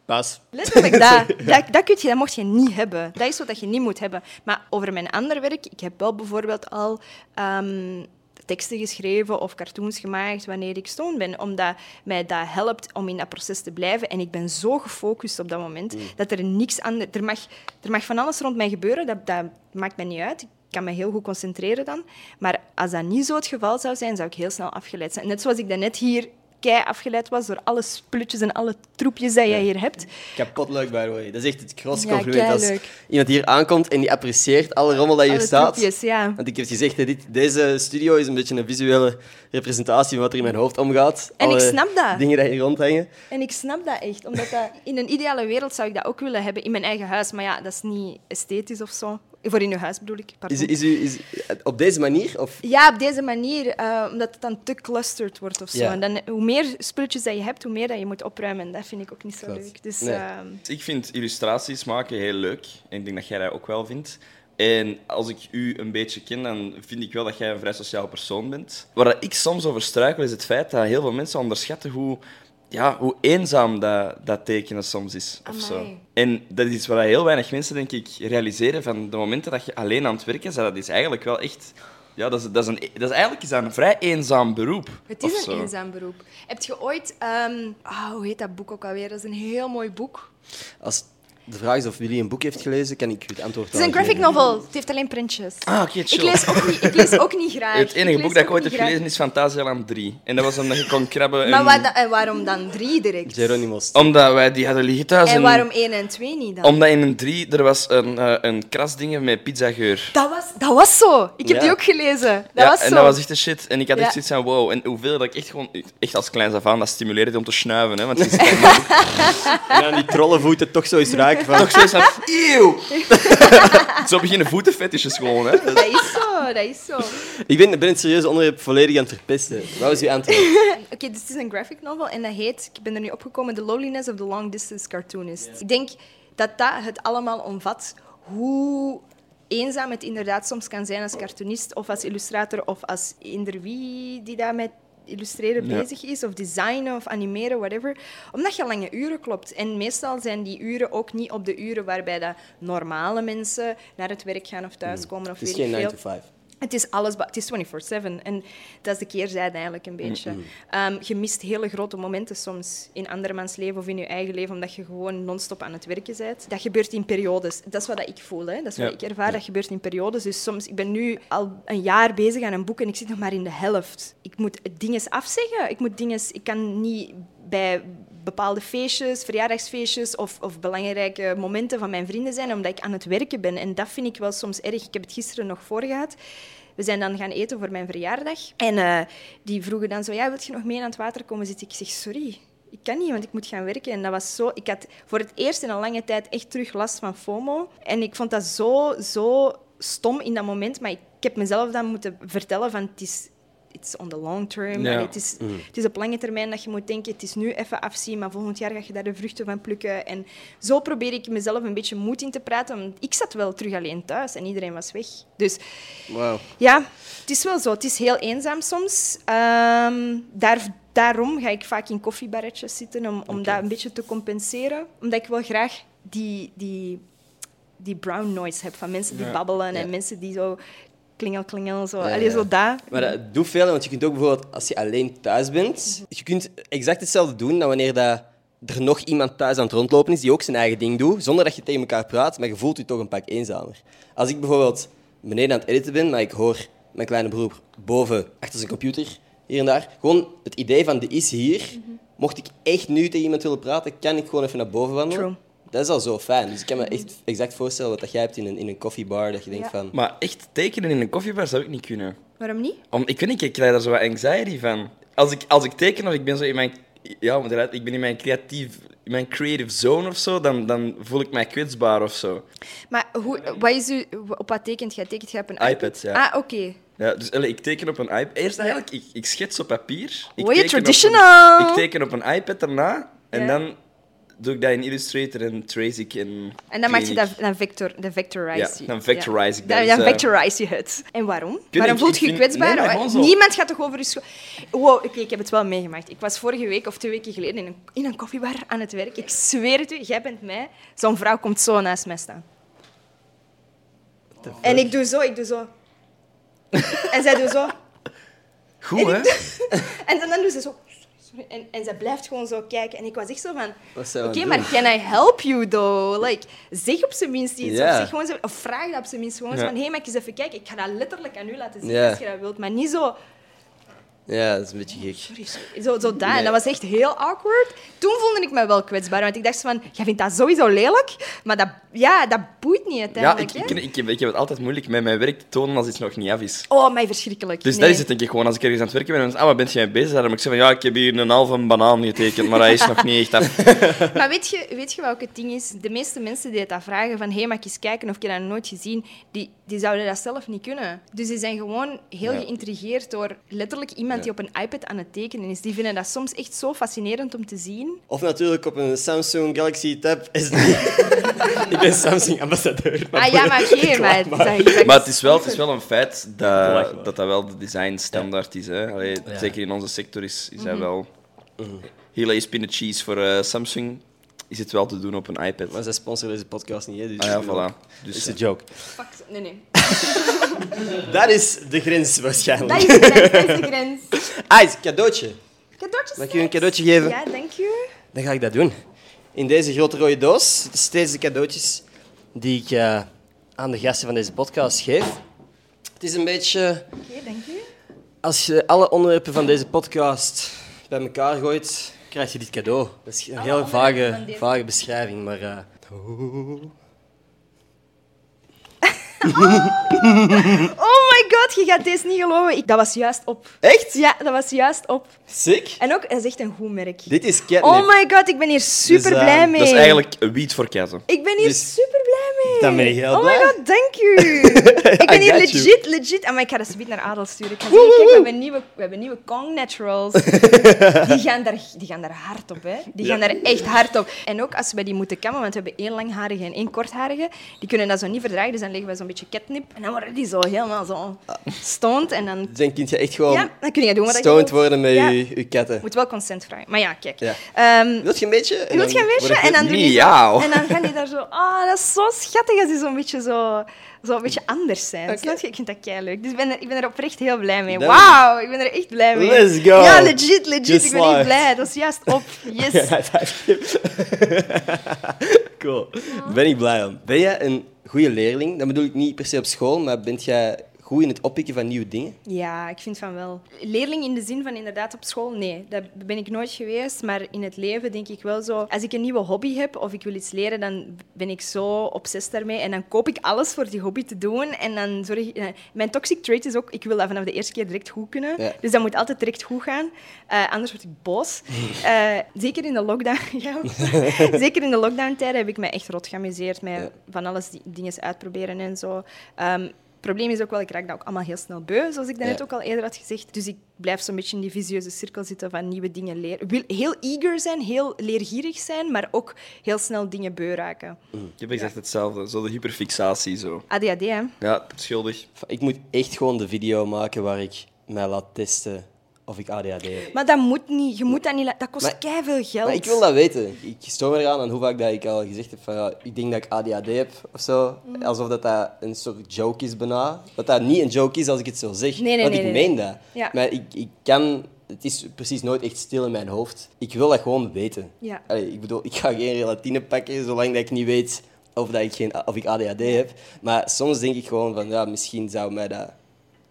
S1: Pas.
S2: Letterlijk dat. Dat, dat, kun je, dat mocht je niet hebben. Dat is wat dat je niet moet hebben. Maar over mijn ander werk, ik heb wel bijvoorbeeld al ehm, teksten geschreven of cartoons gemaakt wanneer ik stoned ben, omdat mij dat helpt om in dat proces te blijven. En ik ben zo gefocust op dat moment dat er niks anders... Er mag, er mag van alles rond mij gebeuren, dat, dat maakt mij niet uit. Ik kan me heel goed concentreren dan. Maar als dat niet zo het geval zou zijn, zou ik heel snel afgeleid zijn. Net zoals ik daarnet hier kei afgeleid was door alle splutjes en alle troepjes dat jij hier hebt.
S1: Kapot leuk, by the way. Dat is echt het grootste
S2: Ja,
S1: compliment. Als
S2: keileuk.
S1: iemand hier aankomt en die apprecieert alle rommel dat hier
S2: Alle
S1: staat.
S2: troepjes, ja.
S1: Want ik heb gezegd, hè, dit, deze studio is een beetje een visuele representatie van wat er in mijn hoofd omgaat.
S2: En ik
S1: Alle
S2: snap dat.
S1: dingen die hier rondhangen.
S2: En ik snap dat echt, omdat dat, in een ideale wereld zou ik dat ook willen hebben in mijn eigen huis. Maar ja, dat is niet esthetisch of zo. Voor in uw huis bedoel ik. pardon.
S1: Is, is, u- is, op deze manier? Of
S2: Ja, op deze manier, eh, omdat het dan te clustered wordt of zo.
S1: Ja.
S2: En dan, hoe meer spulletjes dat je hebt, hoe meer dat je moet opruimen. En dat vind ik ook niet zo
S1: Klopt.
S2: leuk. Dus,
S1: Nee.
S2: ehm,
S3: Ik vind illustraties maken heel leuk. En ik denk dat jij dat ook wel vindt. En als ik u een beetje ken, dan vind ik wel dat jij een vrij sociaal persoon bent. Waar dat ik soms over struikel, is het feit dat heel veel mensen onderschatten hoe, ja, hoe eenzaam dat, dat tekenen soms is. Of zo.
S2: Amai.
S3: En dat is iets waar heel weinig mensen, denk ik, realiseren van de momenten dat je alleen aan het werken bent. Dat is eigenlijk wel echt... Ja, dat is, dat is, een, e- dat is eigenlijk is dat een vrij eenzaam beroep.
S2: Het is
S3: of
S2: een
S3: zo.
S2: eenzaam beroep. Heb je ooit... ehm, ah, hoe heet dat boek ook alweer? Dat is een heel mooi boek.
S1: als de vraag is of jullie een boek heeft gelezen, kan ik u het antwoord
S2: Het is een
S1: wel
S2: graphic
S1: geven.
S2: novel. Het heeft alleen printjes.
S3: Ah, oké,
S2: ik,
S3: chill.
S2: lees ook niet, ik lees ook niet graag.
S3: Het enige
S2: lees
S3: boek dat ik
S2: ook
S3: ooit
S2: niet
S3: heb
S2: graag.
S3: gelezen is Fantasialand 3. En dat was omdat je kon krabben.
S2: Maar
S3: en-
S2: waar da- en waarom dan drie direct?
S1: Geronimo's.
S3: Omdat wij die hadden liggen thuis.
S2: En waarom één en twee niet dan?
S3: Omdat in een 3 er was een, eh een krasdingen met pizzageur.
S2: Dat, was, dat was zo. Ik heb
S1: Ja.
S2: die ook gelezen. Dat
S3: ja,
S2: was zo.
S3: en dat was echt de shit. En ik had
S2: Ja.
S3: echt zoiets van wow. En hoeveel dat ik echt gewoon, echt als kleins af aan, dat stimuleerde om te snuiven. Hè, want het is
S1: En aan die trollenvoeten toch zoiets raken van...
S3: toch zoiets van, eeuw. zo beginnen voetenfetisjes gewoon. Hè.
S2: Dat is zo, dat is zo.
S1: Ik ben, ben het serieuze onderwerp volledig aan het verpesten. Wat was uw antwoord?
S2: Ehm, Oké, dit is een graphic novel en dat heet, ik ben er nu opgekomen, The Loneliness of the Long Distance Cartoonist. Ik denk dat dat het allemaal omvat hoe eenzaam het inderdaad soms kan zijn als cartoonist of als illustrator of als eender wie die daar met illustreren
S3: Ja.
S2: bezig is of designen of animeren, whatever. Omdat je lange uren klopt. En meestal zijn die uren ook niet op de uren waarbij dat normale mensen naar het werk gaan of thuiskomen of
S1: Mm. Het is
S2: weet ik
S1: geen 9
S2: veel.
S1: to 5.
S2: Het is alles, ba- het is 24-7. En dat is de keerzijde eigenlijk een beetje. Ehm, je mist hele grote momenten soms in andermans leven of in je eigen leven, omdat je gewoon non-stop aan het werken bent. Dat gebeurt in periodes. Dat is wat dat ik voel, hè. dat is wat
S3: Ja.
S2: ik ervaar. Dat gebeurt in periodes. Dus soms, ik ben nu al een jaar bezig aan een boek en ik zit nog maar in de helft. Ik moet dingen afzeggen. Ik moet dingen... Ik kan niet bij bepaalde feestjes, verjaardagsfeestjes of, of belangrijke momenten van mijn vrienden zijn, omdat ik aan het werken ben. En dat vind ik wel soms erg. Ik heb het gisteren nog voor gehad. We zijn dan gaan eten voor mijn verjaardag. En eh, die vroegen dan zo, ja, wil je nog mee aan het water komen zitten? Ik zeg, sorry, ik kan niet, want ik moet gaan werken. En dat was zo... Ik had voor het eerst in een lange tijd echt terug last van FOMO. En ik vond dat zo, zo stom in dat moment. Maar ik, ik heb mezelf dan moeten vertellen van, het is... It's on the long term.
S3: Ja.
S2: Allee, het, is, het is op lange termijn dat je moet denken, het is nu even afzien, maar volgend jaar ga je daar de vruchten van plukken. En zo probeer ik mezelf een beetje moed in te praten. want Ik zat wel terug alleen thuis en iedereen was weg. Dus
S1: Wauw.
S2: ja, het is wel zo. Het is heel eenzaam soms. Ehm, daar, daarom ga ik vaak in koffiebarretjes zitten, om, om dat een beetje te compenseren. Omdat ik wel graag die, die, die brown noise heb van mensen die
S3: Ja.
S2: babbelen en
S1: Ja.
S2: mensen die zo klingel, klingel, zo.
S1: Ja,
S2: Allee, zo
S1: ja.
S2: dat.
S1: Maar dat doet veel, want je kunt ook bijvoorbeeld als je alleen thuis bent, je kunt exact hetzelfde doen dan wanneer dat er nog iemand thuis aan het rondlopen is die ook zijn eigen ding doet, zonder dat je tegen elkaar praat, maar je voelt je toch een pak eenzamer. Als ik bijvoorbeeld beneden aan het editen ben, maar ik hoor mijn kleine broer boven achter zijn computer, hier en daar, gewoon het idee van de is hier. Mocht ik echt nu tegen iemand willen praten, kan ik gewoon even naar boven wandelen.
S2: True.
S1: Dat is al zo fijn. Dus ik kan me echt exact voorstellen wat dat jij hebt in een, in een koffiebar, dat je denkt
S2: Ja.
S1: van...
S3: Maar echt tekenen in een koffiebar zou ik niet kunnen.
S2: Waarom niet?
S3: Om, ik weet niet, ik krijg daar zo wat anxiety van. Als ik, als ik teken of ik ben zo in mijn... Ja, maar inderdaad, ik ben in mijn, creatief, in mijn creative zone of zo, dan, dan voel ik mij kwetsbaar of zo.
S2: Maar hoe, wat is u, op wat tekent jij? Tekent jij op een iPad?
S3: iPad, ja.
S2: Ah, oké.
S3: Ja, dus allee, ik teken op een iPad. Eerst eigenlijk, ik, ik schets op papier. Ik
S2: Oei,
S3: teken op een-
S2: traditional.
S3: ik teken op een iPad daarna. En
S2: Ja.
S3: dan doe ik dat in Illustrator en trace ik in...
S2: En dan maak je
S3: Clinic.
S2: dat, dan, vector, dan vectorize je.
S3: Ja, dan vectorize ik dat,
S2: Dan,
S3: dus,
S2: dan
S3: eh.
S2: vectorize je het. En waarom?
S3: weet
S2: waarom
S3: niet,
S2: voelt
S3: ik
S2: je je
S3: vind-
S2: kwetsbaar? Oh,
S3: nee, maar gewoon zo.
S2: Niemand gaat toch over je school... Wow, oké, ik heb het wel meegemaakt. Ik was vorige week of twee weken geleden in een, in een koffiebar aan het werk. Ik zweer het u, jij bent mij. Zo'n vrouw komt zo naast mij staan. En ik doe zo, ik doe zo. en zij doet zo.
S3: Goed, hè?
S2: En dan, dan doet ze zo... sorry, En, en zij blijft gewoon zo kijken. En ik was echt zo van...
S1: Wat zijn
S2: Oké,
S1: we aan het
S2: maar can I help you, though? Like, zeg op zijn minst iets.
S1: Ja.
S2: Of, zeg gewoon zo, of vraag dat op zijn minst gewoon. eens
S3: Ja.
S2: Van, hé, hey, mag ik eens even kijken? Ik ga dat letterlijk aan u laten zien
S1: Ja.
S2: als je dat wilt. Maar niet zo...
S1: Ja, dat is een beetje gek.
S2: Zo, zo daar. En dat was echt heel awkward. Toen voelde ik me wel kwetsbaar. Want ik dacht zo van, jij vindt dat sowieso lelijk. Maar dat, ja, dat boeit niet
S3: Ja,
S2: uiteindelijk.
S3: ik, ik,
S2: hè?
S3: ik, heb, ik heb het altijd moeilijk met mijn werk te tonen als iets nog niet af is.
S2: Oh, mij verschrikkelijk.
S3: Dus
S2: Nee.
S3: dat is het denk ik gewoon. Als ik ergens aan het werken ben en mensen, ah, waar ben jij mee bezig? Dan moet ik zeggen van, ja, ik heb hier een halve banaan getekend, maar hij is nog niet echt af.
S2: Maar weet je, weet je wat ook het ding is? De meeste mensen die dat vragen van hey, mag ik eens kijken of ik heb dat nog nooit gezien, die, die zouden dat zelf niet kunnen. Dus die zijn gewoon heel
S3: Ja.
S2: geïntrigeerd door letterlijk iemand die op een iPad aan het tekenen is. Die vinden dat soms echt zo fascinerend om te zien.
S1: Of natuurlijk op een Samsung Galaxy Tab S3. ik ben Samsung-ambassadeur.
S2: ah ja, maar oké, maar... het is eigenlijk-
S3: Maar het is wel, het is wel een feit dat,
S1: Belachelijk.
S3: dat dat wel de designstandaard is. Hè? Allee, Zeker in onze sector is, is
S2: Mhm.
S3: dat wel... Heel even spin cheese voor eh, Samsung is het wel te doen op een iPad.
S1: Maar zij sponsoren deze podcast niet, hè? Dus
S3: Ah ja, voilà.
S1: Dus
S3: Dus,
S1: is een joke.
S2: Fuck, nee, nee.
S1: Dat is de grens
S2: Dat
S1: waarschijnlijk.
S2: is de grens, dat is de grens.
S1: Ah, is een cadeautje.
S2: Cadeautjes.
S1: Mag ik u een cadeautje geven?
S2: Ja, dank je.
S1: Dan ga ik dat doen. In deze grote rode doos zitten steeds de cadeautjes die ik eh, aan de gasten van deze podcast geef. Het is een beetje...
S2: Oké, dank je.
S1: Als je alle onderwerpen van deze podcast bij elkaar gooit, krijg je dit cadeau. Dat is een heel
S2: onderwerpen
S1: vage,
S2: van deze-
S1: vage beschrijving, maar... eh,
S2: Oh my god, je gaat deze niet geloven. Ik, dat was juist op.
S1: Echt?
S2: Ja, dat was juist op.
S1: Sick.
S2: En ook, dat is echt een goed merk.
S1: Dit is catnip.
S2: Oh my god, ik ben hier super
S1: Dus, eh,
S2: blij mee.
S3: dat is eigenlijk weed voor katten.
S2: Ik ben hier
S1: dus-
S2: super blij mee.
S1: Dan ben ik heel
S2: oh
S1: blij.
S2: my god, dank u. ik ben
S1: I
S2: hier
S1: got you.
S2: legit, legit. Amai, ik ga dat subiet naar Adel sturen. Ik ga zeggen, kijk, we hebben nieuwe, we hebben nieuwe Kong Naturals. die, gaan daar, die gaan daar hard op, hè. Die gaan daar echt hard op. En ook als we bij die moeten kammen, want we hebben één langharige en één kortharige, die kunnen dat zo niet verdragen, dus dan leggen we zo'n beetje catnip. En dan worden die zo helemaal zo stoned. En dan,
S1: Dus Dan kun je echt gewoon
S2: ja, dan kun je doen wat je
S1: stoned
S2: wilt.
S1: worden met
S2: Ja.
S1: je, je katten.
S2: Moet wel consent vragen. Maar ja, kijk.
S1: Ja.
S2: Ehm,
S1: Wilt je een beetje? En dan
S2: Doet je een
S1: word
S2: beetje
S1: ik
S2: en dan doe je zo-
S3: Miauw.
S2: En dan gaan die daar zo... Ah, dat is zo schattig als die zo'n beetje, zo, zo een beetje anders zijn.
S1: Oké.
S2: Snap je? Ik vind dat kei leuk. Dus ik ben, er, ik ben er oprecht heel blij mee.
S1: Dat-
S2: Wauw, ik ben er echt blij mee.
S1: Let's go.
S2: Ja, legit, legit.
S1: Just
S2: ik ben echt
S1: live.
S2: blij. Dat is juist op. Yes.
S1: cool. Ben ik blij om. Ben jij een goede leerling? Dat bedoel ik niet per se op school, maar bent jij goed in het oppikken van nieuwe dingen?
S2: Ja, ik vind van wel. Leerling in de zin van inderdaad op school, nee, dat ben ik nooit geweest. Maar in het leven denk ik wel zo. Als ik een nieuwe hobby heb of ik wil iets leren, dan ben ik zo obsessief daarmee. En dan koop ik alles voor die hobby te doen. En dan zorg ik. eh, Mijn toxic trait is ook, ik wil dat vanaf de eerste keer direct goed kunnen.
S1: Ja.
S2: Dus dat moet altijd direct goed gaan. Eh, anders word ik boos. Eh, zeker in de lockdown. ja, zeker in de lockdown-tijden heb ik me echt rot geamuseerd met
S1: Ja.
S2: van alles die, dingen uitproberen en zo. Ehm, het probleem is ook wel, ik raak dat ook allemaal heel snel beu, zoals ik daarnet
S1: Ja.
S2: ook al eerder had gezegd. Dus ik blijf zo'n beetje in die visieuze cirkel zitten van nieuwe dingen leren. Ik wil heel eager zijn, heel leergierig zijn, maar ook heel snel dingen beu raken.
S1: Mm.
S3: Ik heb exact hetzelfde. Zo de hyperfixatie zo.
S2: ADHD, hè?
S3: Ja, schuldig.
S1: Ik moet echt gewoon de video maken waar ik mij laat testen of ik ADHD heb.
S2: Maar dat moet niet. Je moet dat niet... la- Dat kost
S1: Maar-
S2: keiveel geld.
S1: Maar ik wil dat weten. Ik stoor me eraan aan hoe vaak dat ik al gezegd heb van ja, ik denk dat ik ADHD heb of zo.
S2: Mhm.
S1: Alsof dat, dat een soort joke is bijna. Dat dat niet een joke is als ik het zo zeg.
S2: Nee, nee,
S1: want
S2: nee,
S1: ik
S2: nee,
S1: meen
S2: nee.
S1: dat.
S2: Ja.
S1: Maar ik, ik kan... Het is precies nooit echt stil in mijn hoofd. Ik wil dat gewoon weten.
S2: Ja.
S1: Allee, ik bedoel, ik ga geen relatine pakken zolang dat ik niet weet of, dat ik, geen, of ik ADHD heb. Maar soms denk ik gewoon van ja, misschien zou mij dat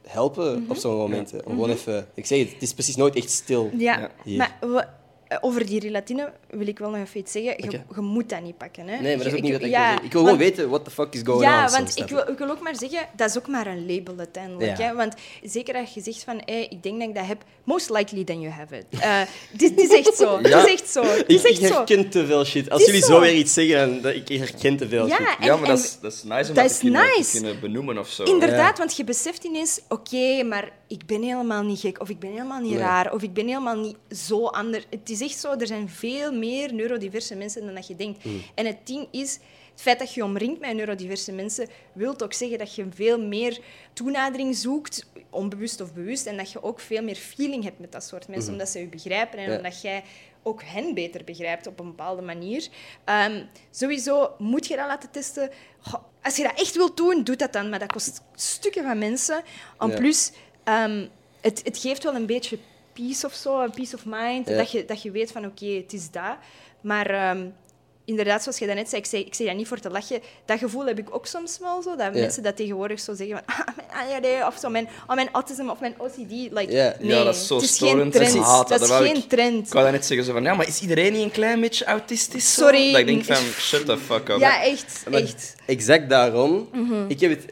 S1: helpen
S2: Mhm.
S1: op zo'n momenten. Om gewoon even... Ik zeg het, het is precies nooit echt stil.
S2: Ja,
S1: Hier.
S2: maar we- eh, over die relatine wil ik wel nog even iets zeggen. Je,
S1: Oké.
S2: je moet dat niet pakken. Hè?
S1: Nee, maar dat is
S2: Je-
S1: ook niet wat ik
S2: ja,
S1: wil zeggen. Ik wil gewoon
S2: want-
S1: weten what the fuck is going on.
S2: Ja,
S1: soms,
S2: want
S1: snap je?
S2: ik wil, ik wil ook maar zeggen, dat is ook maar een label uiteindelijk.
S1: Ja.
S2: Hè? Want zeker als je zegt van, hey, ik denk dat ik dat heb, most likely then you have it. Eh, dit, dit is echt zo. Dit
S3: Ja.
S2: is echt zo. Dit
S1: Ik,
S2: is
S1: ik
S2: echt zo.
S1: herken te veel shit. Als
S2: Het is
S1: jullie
S2: zo.
S1: zo weer iets zeggen, dan dat- ik herken te veel
S2: Ja,
S1: shit.
S2: en-
S3: ja, maar dat,
S2: en-
S3: is, dat is nice om
S2: dat
S3: dat,
S2: is
S3: te, kunnen, te
S2: nice.
S3: kunnen benoemen of zo.
S2: Inderdaad, want je beseft ineens, oké, maar ik ben helemaal niet gek, of ik ben helemaal niet
S1: Nee.
S2: raar, of ik ben helemaal niet zo anders. Het is echt zo, er zijn veel meer neurodiverse mensen dan dat je denkt.
S1: Mm.
S2: En het ding is, het feit dat je omringt met neurodiverse mensen, wil ook zeggen dat je veel meer toenadering zoekt, onbewust of bewust, en dat je ook veel meer feeling hebt met dat soort mensen, omdat ze je begrijpen en
S1: Mhm. Ja.
S2: omdat jij ook hen beter begrijpt op een bepaalde manier. Ehm, sowieso moet je dat laten testen. Goh, Als je dat echt wilt doen, doe dat dan. Maar dat kost stukken van mensen. En
S1: Ja.
S2: plus, ehm, het, het geeft wel een beetje peace of zo, een peace of mind.
S1: Ja.
S2: Dat, je, dat je weet van, oké, het is dat. Maar ehm, inderdaad, zoals je daarnet zei, ik zei, ik zei dat niet voor te lachen. Dat gevoel heb ik ook soms wel zo.
S1: Ja.
S2: Dat mensen dat tegenwoordig zo zeggen van, ah, mijn ADHD of zo, mijn, oh, mijn autism of mijn OCD. Like,
S1: Ja.
S2: nee,
S3: ja, dat is zo
S2: het is geen
S3: storend.
S2: trend.
S3: Ik haat
S2: dat is
S3: wou
S2: geen
S3: ik,
S2: trend.
S3: Ik wou dat net zeggen zo van, ja, maar is iedereen niet een klein beetje autistisch? zo?
S2: Sorry.
S3: Dat ik denk van, shut the fuck up.
S2: Ja, echt.
S1: Maar
S2: echt. Mhm.
S1: Exact daarom. ik, heb het,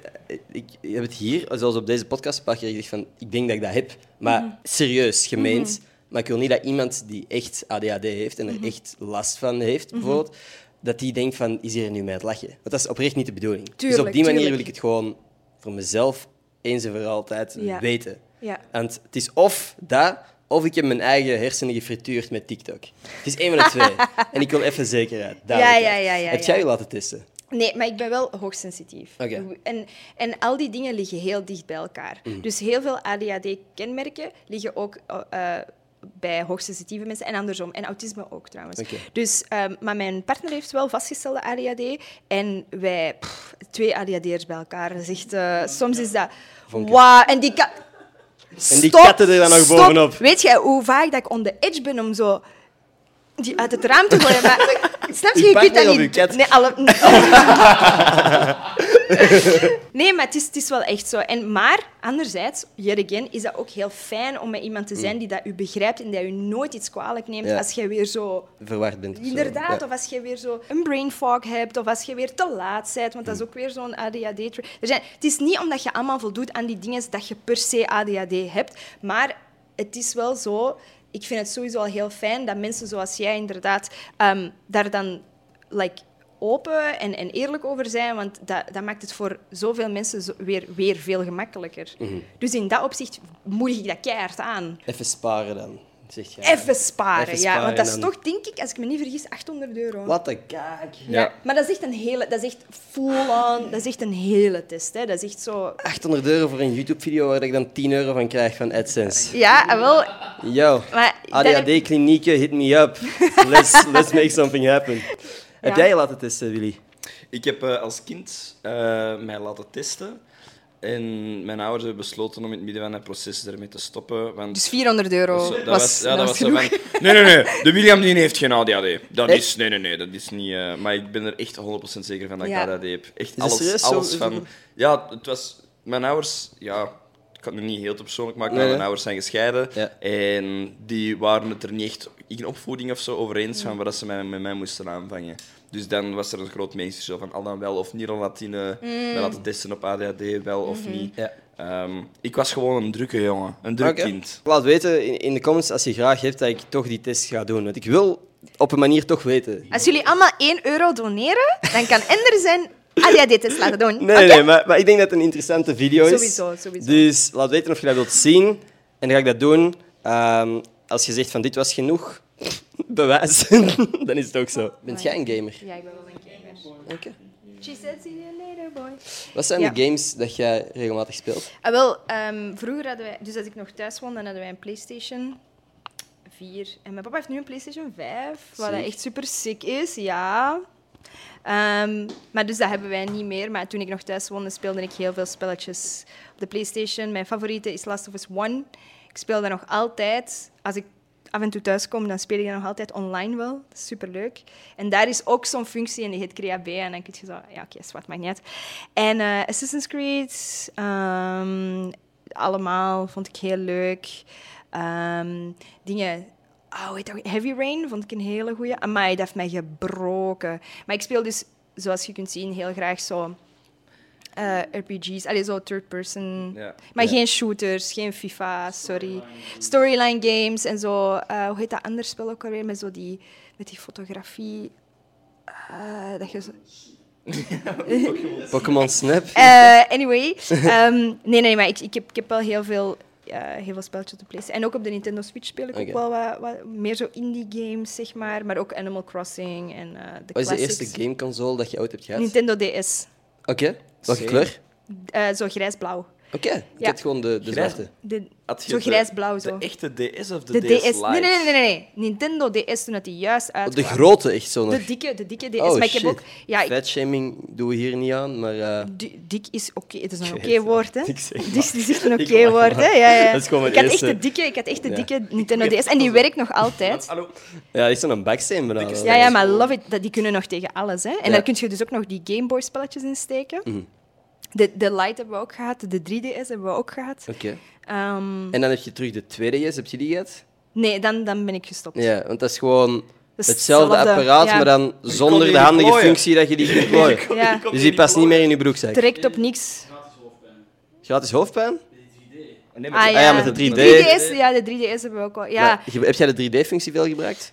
S1: ik heb het hier, zoals op deze podcast, een paar keer gezegd van... Ik denk dat ik dat heb. Maar
S2: Mhm.
S1: serieus, gemeend. Maar ik wil niet dat iemand die echt ADHD heeft en er
S2: Mhm.
S1: echt last van heeft, bijvoorbeeld... Dat die denkt van, is hier nu mee het lachen? Want dat is oprecht niet de bedoeling. dus
S2: Tuurlijk,
S1: op die manier
S2: tuurlijk.
S1: wil ik het gewoon voor mezelf eens en voor altijd
S2: Ja.
S1: weten.
S2: Ja.
S1: Want het is of dat, of ik heb mijn eigen hersenen gefrituurd met TikTok. Het is één van de twee. en ik wil even zekerheid. duidelijkheid.
S2: ja, ja, ja,
S1: Heb
S2: ja.
S1: jij je laten testen?
S2: Nee, maar ik ben wel hoogsensitief.
S1: Oké.
S2: En, en al die dingen liggen heel dicht bij elkaar.
S1: Mhm.
S2: Dus heel veel ADHD-kenmerken liggen ook eh, eh, bij hoogsensitieve mensen en andersom. En autisme ook trouwens.
S1: Oké.
S2: Dus, ehm, maar mijn partner heeft wel vastgestelde ADHD. En wij, pff, twee ADHD'ers bij elkaar. Dat is echt, eh, soms is dat... Wauw, en die... ka-
S1: En die
S2: Stop,
S1: katten er dan nog
S2: stop.
S1: bovenop.
S2: Weet jij hoe vaak dat ik on the edge ben om zo... Die uit het raam te gooien, maar... Snap je?
S1: Uw
S2: Je kunt
S1: partner
S2: dat
S1: of uw
S2: niet...
S1: kat?
S2: Nee, alle... Nee, maar het is, het is wel echt zo. En, maar anderzijds, yet again, is dat ook heel fijn om met iemand te zijn die dat u begrijpt en die u nooit iets kwalijk neemt
S1: Ja.
S2: als jij weer zo...
S1: Verward bent. of zo.
S2: Inderdaad,
S1: Ja.
S2: of als je weer zo een brain fog hebt, of als je weer te laat bent, want dat
S1: Hmm.
S2: is ook weer zo'n ADHD. tra- Er zijn, het is niet omdat je allemaal voldoet aan die dingen dat je per se ADHD hebt, maar het is wel zo. Ik vind het sowieso al heel fijn dat mensen zoals jij inderdaad ehm, daar dan like, open en, en eerlijk over zijn, want dat, dat maakt het voor zoveel mensen zo- weer, weer veel gemakkelijker.
S1: Hmm.
S2: Dus in dat opzicht moedig ik dat keihard aan.
S1: Even sparen dan, zeg jij.
S2: Even sparen,
S1: Even
S2: ja. Want dat is
S1: dan.
S2: toch, denk ik, als ik me niet vergis, 800 euro.
S1: Wat een kaak.
S2: Ja.
S3: Ja.
S2: Maar dat is echt een hele, dat is echt full on, dat is echt een hele test. Hè. Dat is echt zo.
S1: 800 euro voor een YouTube-video waar ik dan 10 euro van krijg van AdSense.
S2: Ja, ah, wel.
S1: Yo,
S2: Maar dat-
S1: ADHD-klinieken, hit me up. Let's, let's make something happen. Heb
S2: Ja.
S1: jij je laten testen, Willy?
S3: Ik heb eh, als kind eh, mij laten testen. En mijn ouders hebben besloten om in het midden van het proces ermee te stoppen. Want
S2: Dus 400 euro
S3: dat zo-
S2: was,
S3: dat was, ja,
S2: dat
S3: dat
S2: was
S3: was zo
S2: genoeg.
S3: van, Nee, nee, nee. De William die heeft geen ADHD. Dat is... Nee, nee, nee. Dat is niet... eh, maar ik ben er echt 100% zeker van dat
S2: Ja.
S3: ik ADHD heb. Echt
S1: het
S3: alles,
S1: serieus
S3: alles
S1: zo-
S3: van... Ja, het was... Mijn ouders... Ja, ik kan het nu niet heel te persoonlijk maken, maar
S1: Nee, hè?
S3: mijn ouders zijn gescheiden.
S1: Ja.
S3: En die waren het er niet echt in opvoeding of zo over eens van wat ze mij- met mij moesten aanvangen. Dus dan was er een groot meesterschil van al dan wel of niet een Latine.
S1: Mm.
S3: Mij laten testen op ADHD, wel of niet.
S1: Ja.
S3: Ehm, ik was gewoon een drukke jongen. Een druk
S1: Oké.
S3: kind.
S1: Laat weten in, in de comments als je graag hebt dat ik toch die test ga doen. Want ik wil op een manier toch weten.
S2: Als jullie allemaal 1 euro doneren, dan kan Ender zijn Ah, ADHD-test laten doen.
S1: Nee,
S2: Oké?
S1: nee, maar, maar ik denk dat het een interessante video is.
S2: Sowieso, sowieso.
S1: Dus laat weten of je dat wilt zien. En dan ga ik dat doen. Ehm, als je zegt van dit was genoeg, bewijs. dan is het ook zo. Bent jij een gamer?
S2: Ja, ik ben wel een gamer.
S1: Oké.
S2: She said see you later, boy.
S1: Wat zijn
S2: Ja.
S1: de games dat jij regelmatig speelt?
S2: Ah, wel, ehm, vroeger hadden wij, dus als ik nog thuis woonde, dan hadden wij een PlayStation 4. En mijn papa heeft nu een PlayStation 5, wat dat
S1: Sick.
S2: echt super sick is, ja. Ehm, maar dus dat hebben wij niet meer. Maar toen ik nog thuis woonde, speelde ik heel veel spelletjes op de PlayStation. Mijn favoriete is Last of Us 1. Ik speel dat nog altijd. Als ik af en toe thuis kom, dan speel ik dat nog altijd online wel. Dat is superleuk. En daar is ook zo'n functie en die heet CreaB. En dan kun je zo... Ja, oké, zwart, maakt niet uit. En eh, Assassin's Creed... ehm, allemaal vond ik heel leuk. Ehm, dingen Oh, hoe heet dat? Heavy Rain vond ik een hele goeie. Amai, dat heeft mij gebroken. Maar ik speel dus, zoals je kunt zien, heel graag zo... eh, RPG's, allee, zo third person.
S3: Ja.
S2: Maar geen shooters, geen FIFA, sorry. Storyline games en zo. eh, hoe heet dat ander spel ook alweer? Met, zo die, met die fotografie. Eh, dat je zo...
S1: Pokémon Snap?
S2: Eh, anyway, ehm, nee, nee, maar ik, ik, heb, ik heb wel heel veel, eh, heel veel spelletjes op de PlayStation. En ook op de Nintendo Switch speel ik
S1: Oké.
S2: ook wel wat, wat meer zo indie games, zeg maar. Maar ook Animal Crossing en eh de
S1: Wat is de
S2: classics.
S1: eerste gameconsole dat je ooit hebt gehad?
S2: Nintendo DS.
S1: Oké. Welke
S3: Zeker.
S1: kleur?
S2: Eh, zo grijs-blauw.
S1: Oké. Ik
S2: Ja.
S1: heb gewoon de, de
S3: Grijs.
S1: zwarte.
S2: De-
S3: Had je
S2: Zo
S3: de-
S2: grijs-blauw, zo.
S3: De echte DS of de,
S2: De,
S3: DS,
S2: DS.
S3: Lite?
S2: Nee, nee, nee, nee, nee. Nintendo DS toen dat die juist uit.
S1: Oh, De grote echt zo nog.
S2: de dikke, de dikke DS.
S1: Oh,
S2: maar ik heb
S1: shit.
S2: ook. Ja, ik-
S1: Vetshaming doen we hier niet aan, maar... eh,
S2: di- dik is oké. Het is een
S1: Ik
S2: oké
S1: weet het,
S2: woord, hè?
S1: ik zeg
S2: Dus
S1: maar.
S2: het is echt een
S1: Ik
S2: oké
S1: lach
S2: woord, hè?
S1: maar.
S2: Ja, ja.
S1: Dat is gewoon mijn
S2: ik had
S1: eerste-
S2: echt de dikke, ik had echt de
S1: Ja.
S2: dikke Nintendo DS en die werkt nog altijd.
S3: Hallo.
S1: ja, die is dan een baksteen benaderd.
S2: Ja, ja, maar love it, dat- die kunnen nog tegen alles. Hè? En
S1: Ja. Mhm.
S2: daar kun je dus ook nog die Game Boy spelletjes in steken. De, de Lite hebben we ook gehad, de 3DS hebben we ook gehad.
S1: Oké.
S2: Ehm,
S1: En dan heb je terug de 2DS, heb je die gehad?
S2: nee, dan, dan ben ik gestopt.
S1: Ja, want dat is gewoon
S2: is
S1: hetzelfde
S2: hetzelfde,
S1: apparaat,
S2: ja.
S1: maar dan
S3: kon
S1: zonder
S3: die
S1: de handige
S3: plooien.
S1: functie dat je die kunt plooien.
S2: Ja.
S3: Ik kon
S1: Dus die past niet meer in je broekzak.
S2: Direct op niks.
S1: Gratis hoofdpijn?
S3: Nee,
S2: Ah,
S3: maar-
S2: ja.
S1: Ah ja, met de 3D.
S2: 3DS, ja, de 3DS hebben we ook al. Ja,
S1: Maar je- heb jij de 3D-functie veel gebruikt?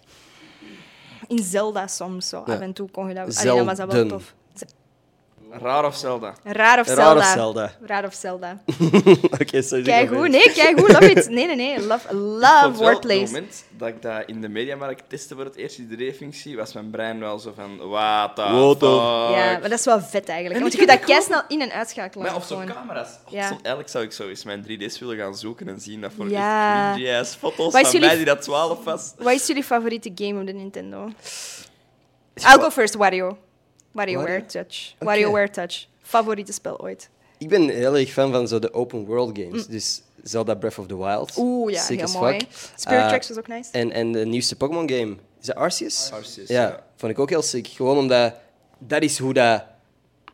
S2: in Zelda soms zo. Af en toe kon je dat. Allee, dan was dat wel
S1: Zelden.
S2: tof. Z-
S3: Raar of
S2: Ah,
S3: Zelda?
S2: Raar of
S1: Raar
S2: Zelda.
S1: of Zelda.
S2: Raar of Zelda.
S1: Oké, zo is
S2: Kijk goed, nee, kijk goed, love it. Nee, nee, nee, love,
S3: Tot
S2: love
S3: wel op het
S2: wordplays.
S3: moment dat ik dat in de mediamarkt testte voor het eerst, die 3D-functie, was mijn brein wel zo van, what the
S1: What the-
S3: fuck?
S2: Ja, maar dat is wel vet eigenlijk.
S3: En
S2: Want je
S3: die
S2: kunt dat
S3: kan ik
S2: keisnel in- en uitschakelen.
S3: Maar of zo'n
S2: gewoon.
S3: camera's. Oh,
S2: Ja.
S3: zo- eigenlijk zou ik zo eens mijn 3D's willen gaan zoeken en zien dat voor
S2: Ja.
S3: echt cringy-ass foto's
S2: Wat
S3: van
S2: is jullie-
S3: mij die dat 12 was.
S2: Wat is jullie favoriete game op de Nintendo? I'll go first, Wario. WarioWare
S1: Wario?
S2: Touch.
S1: Oké.
S2: WarioWare Touch. Favoriete spel ooit.
S1: Ik ben heel erg fan van zo de open world games. Dus Zelda Breath of the Wild.
S2: Mm. Oeh, ja,
S1: Sick
S2: heel
S1: as
S2: mooi.
S1: fuck.
S2: Spirit
S1: Eh,
S2: Tracks was ook nice.
S1: En, en de nieuwste Pokémon game. Is dat Arceus?
S3: Arceus,
S1: ja,
S3: ja.
S1: vond ik ook heel sick. Gewoon omdat dat is hoe dat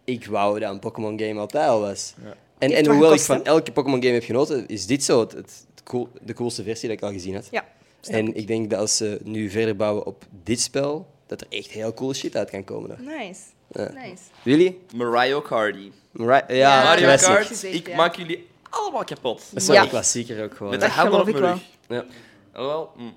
S1: ik wou dat een Pokémon game altijd al was. En,
S2: heeft
S1: en
S2: wat
S1: hoewel
S2: gekost,
S1: ik
S2: hè?
S1: van elke Pokémon game heb genoten, is dit zo het, het cool- de coolste versie dat ik al gezien had.
S2: Ja, snap
S1: en ik denk dat als ze nu verder bouwen op dit spel, dat er echt heel coole shit uit kan komen. nog.
S2: Nice.
S1: Ja.
S2: Nice.
S1: Willy?
S3: Mario Karty.
S1: Right? Ja,
S2: Ja.
S3: Mario
S1: classic.
S3: Kart,
S2: Gezegd,
S3: ik
S2: ja.
S3: maak jullie allemaal kapot.
S1: Dat is
S2: Ja.
S1: wel een klassieker ook gewoon.
S3: Met
S1: hè.
S3: de handen op
S2: geloof
S3: mijn
S2: ik
S3: rug.
S1: Ja.
S3: Wel, mm.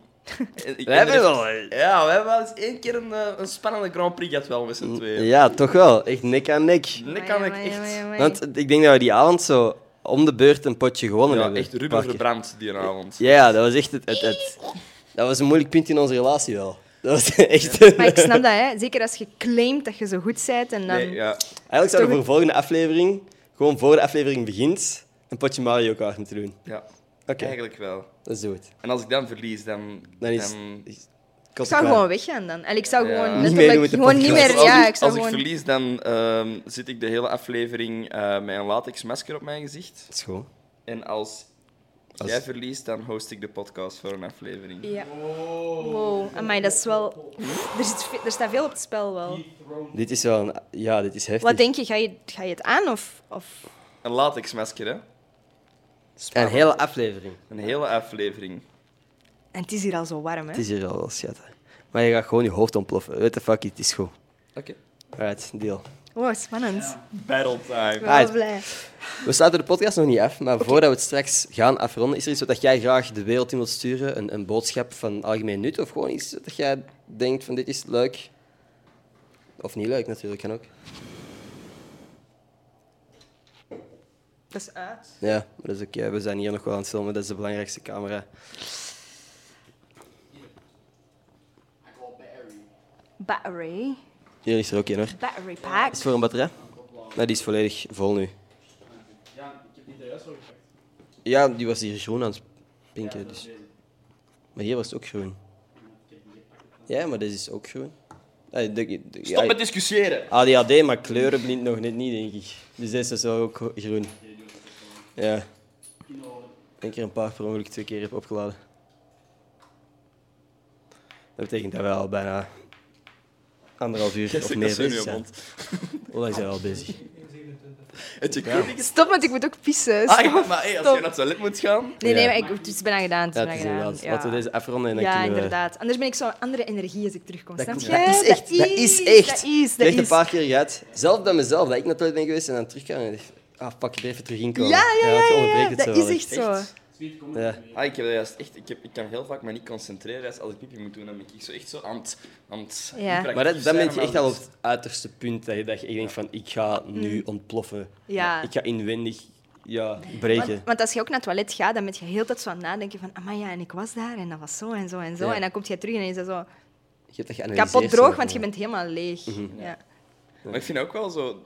S3: Ik- ik
S1: We hebben
S3: er-
S1: wel-
S3: Ja, we hebben wel eens één keer een, eh, een spannende Grand Prix gehad wel met z'n tweeën.
S1: ja, toch wel. Echt nek aan nek.
S3: En dat kan ik echt...
S1: Want ik denk dat we die avond zo om de beurt een potje gewonnen
S3: Ja,
S1: hebben.
S3: echt Ruben
S1: Paar keer.
S3: verbrand die avond.
S1: dus. Ja, ja, dat was echt het, het, het- Dat was een moeilijk punt in onze relatie wel. Dat was echt... een-
S2: Maar ik snap dat, hè. Zeker als je claimt dat je zo goed bent en dan...
S3: Nee, ja.
S1: Eigenlijk zouden we
S2: Toch-
S1: voor de volgende aflevering, gewoon voor de aflevering begint, een potje Mario Kart moeten doen.
S3: ja.
S1: Oké.
S3: Eigenlijk wel.
S1: Dat is goed.
S3: En als Ehm, ik dan verlies, dan...
S1: Dan is... is-
S2: Ik zou gewoon weggaan dan. En ik zou
S3: Ja.
S2: gewoon
S3: Niet
S1: meedoen
S2: letterlijk
S1: met de
S2: gewoon niet
S1: podcast.
S2: meer.
S3: Als,
S2: Ja,
S3: ik,
S2: ik zou
S3: als ik
S2: gewoon.
S3: verlies, dan ehm, zit ik de hele aflevering eh, met een latex masker op mijn gezicht.
S1: Dat is gewoon.
S3: En als,
S1: Als-
S3: jij verliest, dan host ik de podcast voor een aflevering.
S2: Ja. Wow, amai, dat is wel. Er, zit, ve- er staat veel op het spel wel.
S1: Dit is wel een... Ja, dit is heftig.
S2: Wat denk je, ga je, ga je het aan of. of...
S3: Een latex masker, hè?
S1: Een hele aflevering.
S3: Een hele aflevering.
S2: En het is hier al zo warm,
S1: Het
S2: hè?
S1: is hier al wel schat. hè. Maar je gaat gewoon je hoofd ontploffen. Weet the fuck it, het is goed.
S3: Oké.
S1: Alright, deal.
S2: Wow, spannend.
S3: Battle time.
S2: Ik ben wel
S1: Alright.
S2: blij.
S1: We sluiten de podcast nog niet af, maar voordat we het straks gaan afronden, is er iets wat jij graag de wereld in wilt sturen? Een, een boodschap van algemeen nut? Of gewoon iets dat jij denkt van dit is leuk? Of niet leuk natuurlijk, kan ook.
S2: Dat is uit.
S1: Ja, maar dat is oké. We zijn hier nog wel aan het filmen, dat is de belangrijkste camera.
S2: Battery.
S1: Hier is er ook één hoor.
S2: Battery pack.
S1: Is het voor een batterij? Nee, die is volledig vol nu. Ja, die was hier groen aan het pinken. Dus. Maar hier was het ook groen. Ja, maar deze is ook groen. Ah, de- de-
S3: Stop
S1: ja,
S3: met discussiëren.
S1: ADHD, maar kleurenblind nog net niet, denk ik. Dus deze is wel ook groen. Ja. Ik denk er een paar per ongeluk twee keer heb opgeladen. Dat betekent dat wij al bijna anderhalf uur
S3: Jij
S1: of
S3: steekt
S1: meer
S3: dat zo in
S1: bezig
S3: je
S1: zijn.
S3: mond.
S1: Hoe lang zijn we al bezig?
S3: Het je kunt niet-
S2: Stop, want ik moet ook pissen.
S3: Ah,
S2: Stop.
S3: ja, maar hey, als je
S2: Stop.
S3: naar het toilet moet gaan...
S2: Nee, nee,
S1: Ja.
S2: maar ik, het is bijna gedaan. Het is
S1: Ja, het
S2: bijna
S1: is
S2: gedaan.
S1: inderdaad.
S2: Ja.
S1: Laten we deze afronden en dan
S2: Ja,
S1: kunnen we...
S2: inderdaad. Anders ben ik zo'n andere energie als ik terugkom. Snap
S1: klopt.
S2: je?
S1: dat is echt, dat is echt.
S2: Dat
S1: Ik
S2: is,
S1: heb
S2: dat
S1: echt een
S2: is.
S1: paar keer gehad, zelf dan mezelf, dat ik naar het toilet ben geweest en dan terug kan en dacht, ah, pak ik er even terug in komen.
S2: Ja, ja,
S1: want je
S2: ja, ja,
S1: onderbreekt het
S2: ja. dat
S1: zo
S2: is
S1: wel
S2: echt zo.
S3: Echt?
S1: Ja.
S3: Ah, ik, heb dat juist echt, ik, heb, ik kan heel vaak me niet concentreren. Juist als ik pipi moet doen, dan ben ik zo echt zo aan het... Aan het
S2: Ja.
S3: hyperactief
S1: Maar dat, dan
S3: zijn,
S1: ben je
S3: maar
S1: echt al op
S3: dat-
S1: het uiterste punt dat je, dat je echt denkt van, ik ga nu ontploffen.
S2: Hmm. Ja.
S1: Ik ga inwendig ja, breken.
S2: Want, want als je ook naar het toilet gaat, dan ben je heel de tijd zo aan het nadenken van, ah ja, en ik was daar en dat was zo en zo en zo.
S1: Ja.
S2: En dan kom je terug en dan is dat zo
S1: je hebt dat geanalyseerd.
S2: kapot droog,
S1: zo. Mhm.
S2: want je bent helemaal leeg. ja.
S3: Maar ik vind ook wel zo...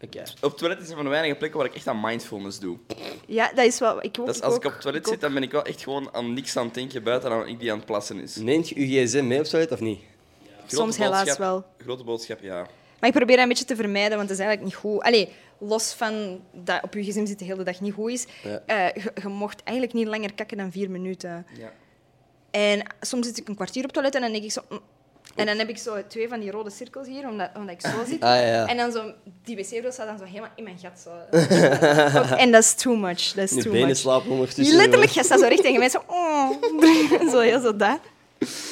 S1: Oké.
S3: Op het toilet is een van de weinige plekken waar ik echt aan mindfulness doe.
S2: ja, dat is wel. Ik ook,
S3: Dat is als ik op
S2: ook,
S3: het toilet
S2: ook.
S3: zit, dan ben ik wel echt gewoon aan niks aan het denken buiten dan ik die aan het plassen is.
S1: Neemt je je gsm mee op toilet of niet?
S3: Grote
S2: Soms helaas
S3: boodschap-
S2: wel.
S3: Grote boodschap, ja.
S2: Maar ik probeer dat een beetje te vermijden, want dat is eigenlijk niet goed. Allee, los van dat op je gezin zitten de hele dag niet goed is,
S1: Ja.
S2: eh, je, je mocht eigenlijk niet langer kakken dan vier minuten.
S3: ja.
S2: En soms zit ik een kwartier op het toilet en dan denk ik zo... "Mm." En dan heb ik zo twee van die rode cirkels hier, omdat, omdat ik zo zit.
S1: Ah, ja, ja.
S2: En dan zo, die wc-bril staat dan zo helemaal in mijn gat. Zo. Ook- en dat is too much. Dat
S1: Je
S2: is too
S1: benen
S2: much.
S1: slapen ondertussen.
S2: Letterlijk,
S1: jongen.
S2: je staat zo recht tegen mij. Zo, oh. zo, heel zo dat.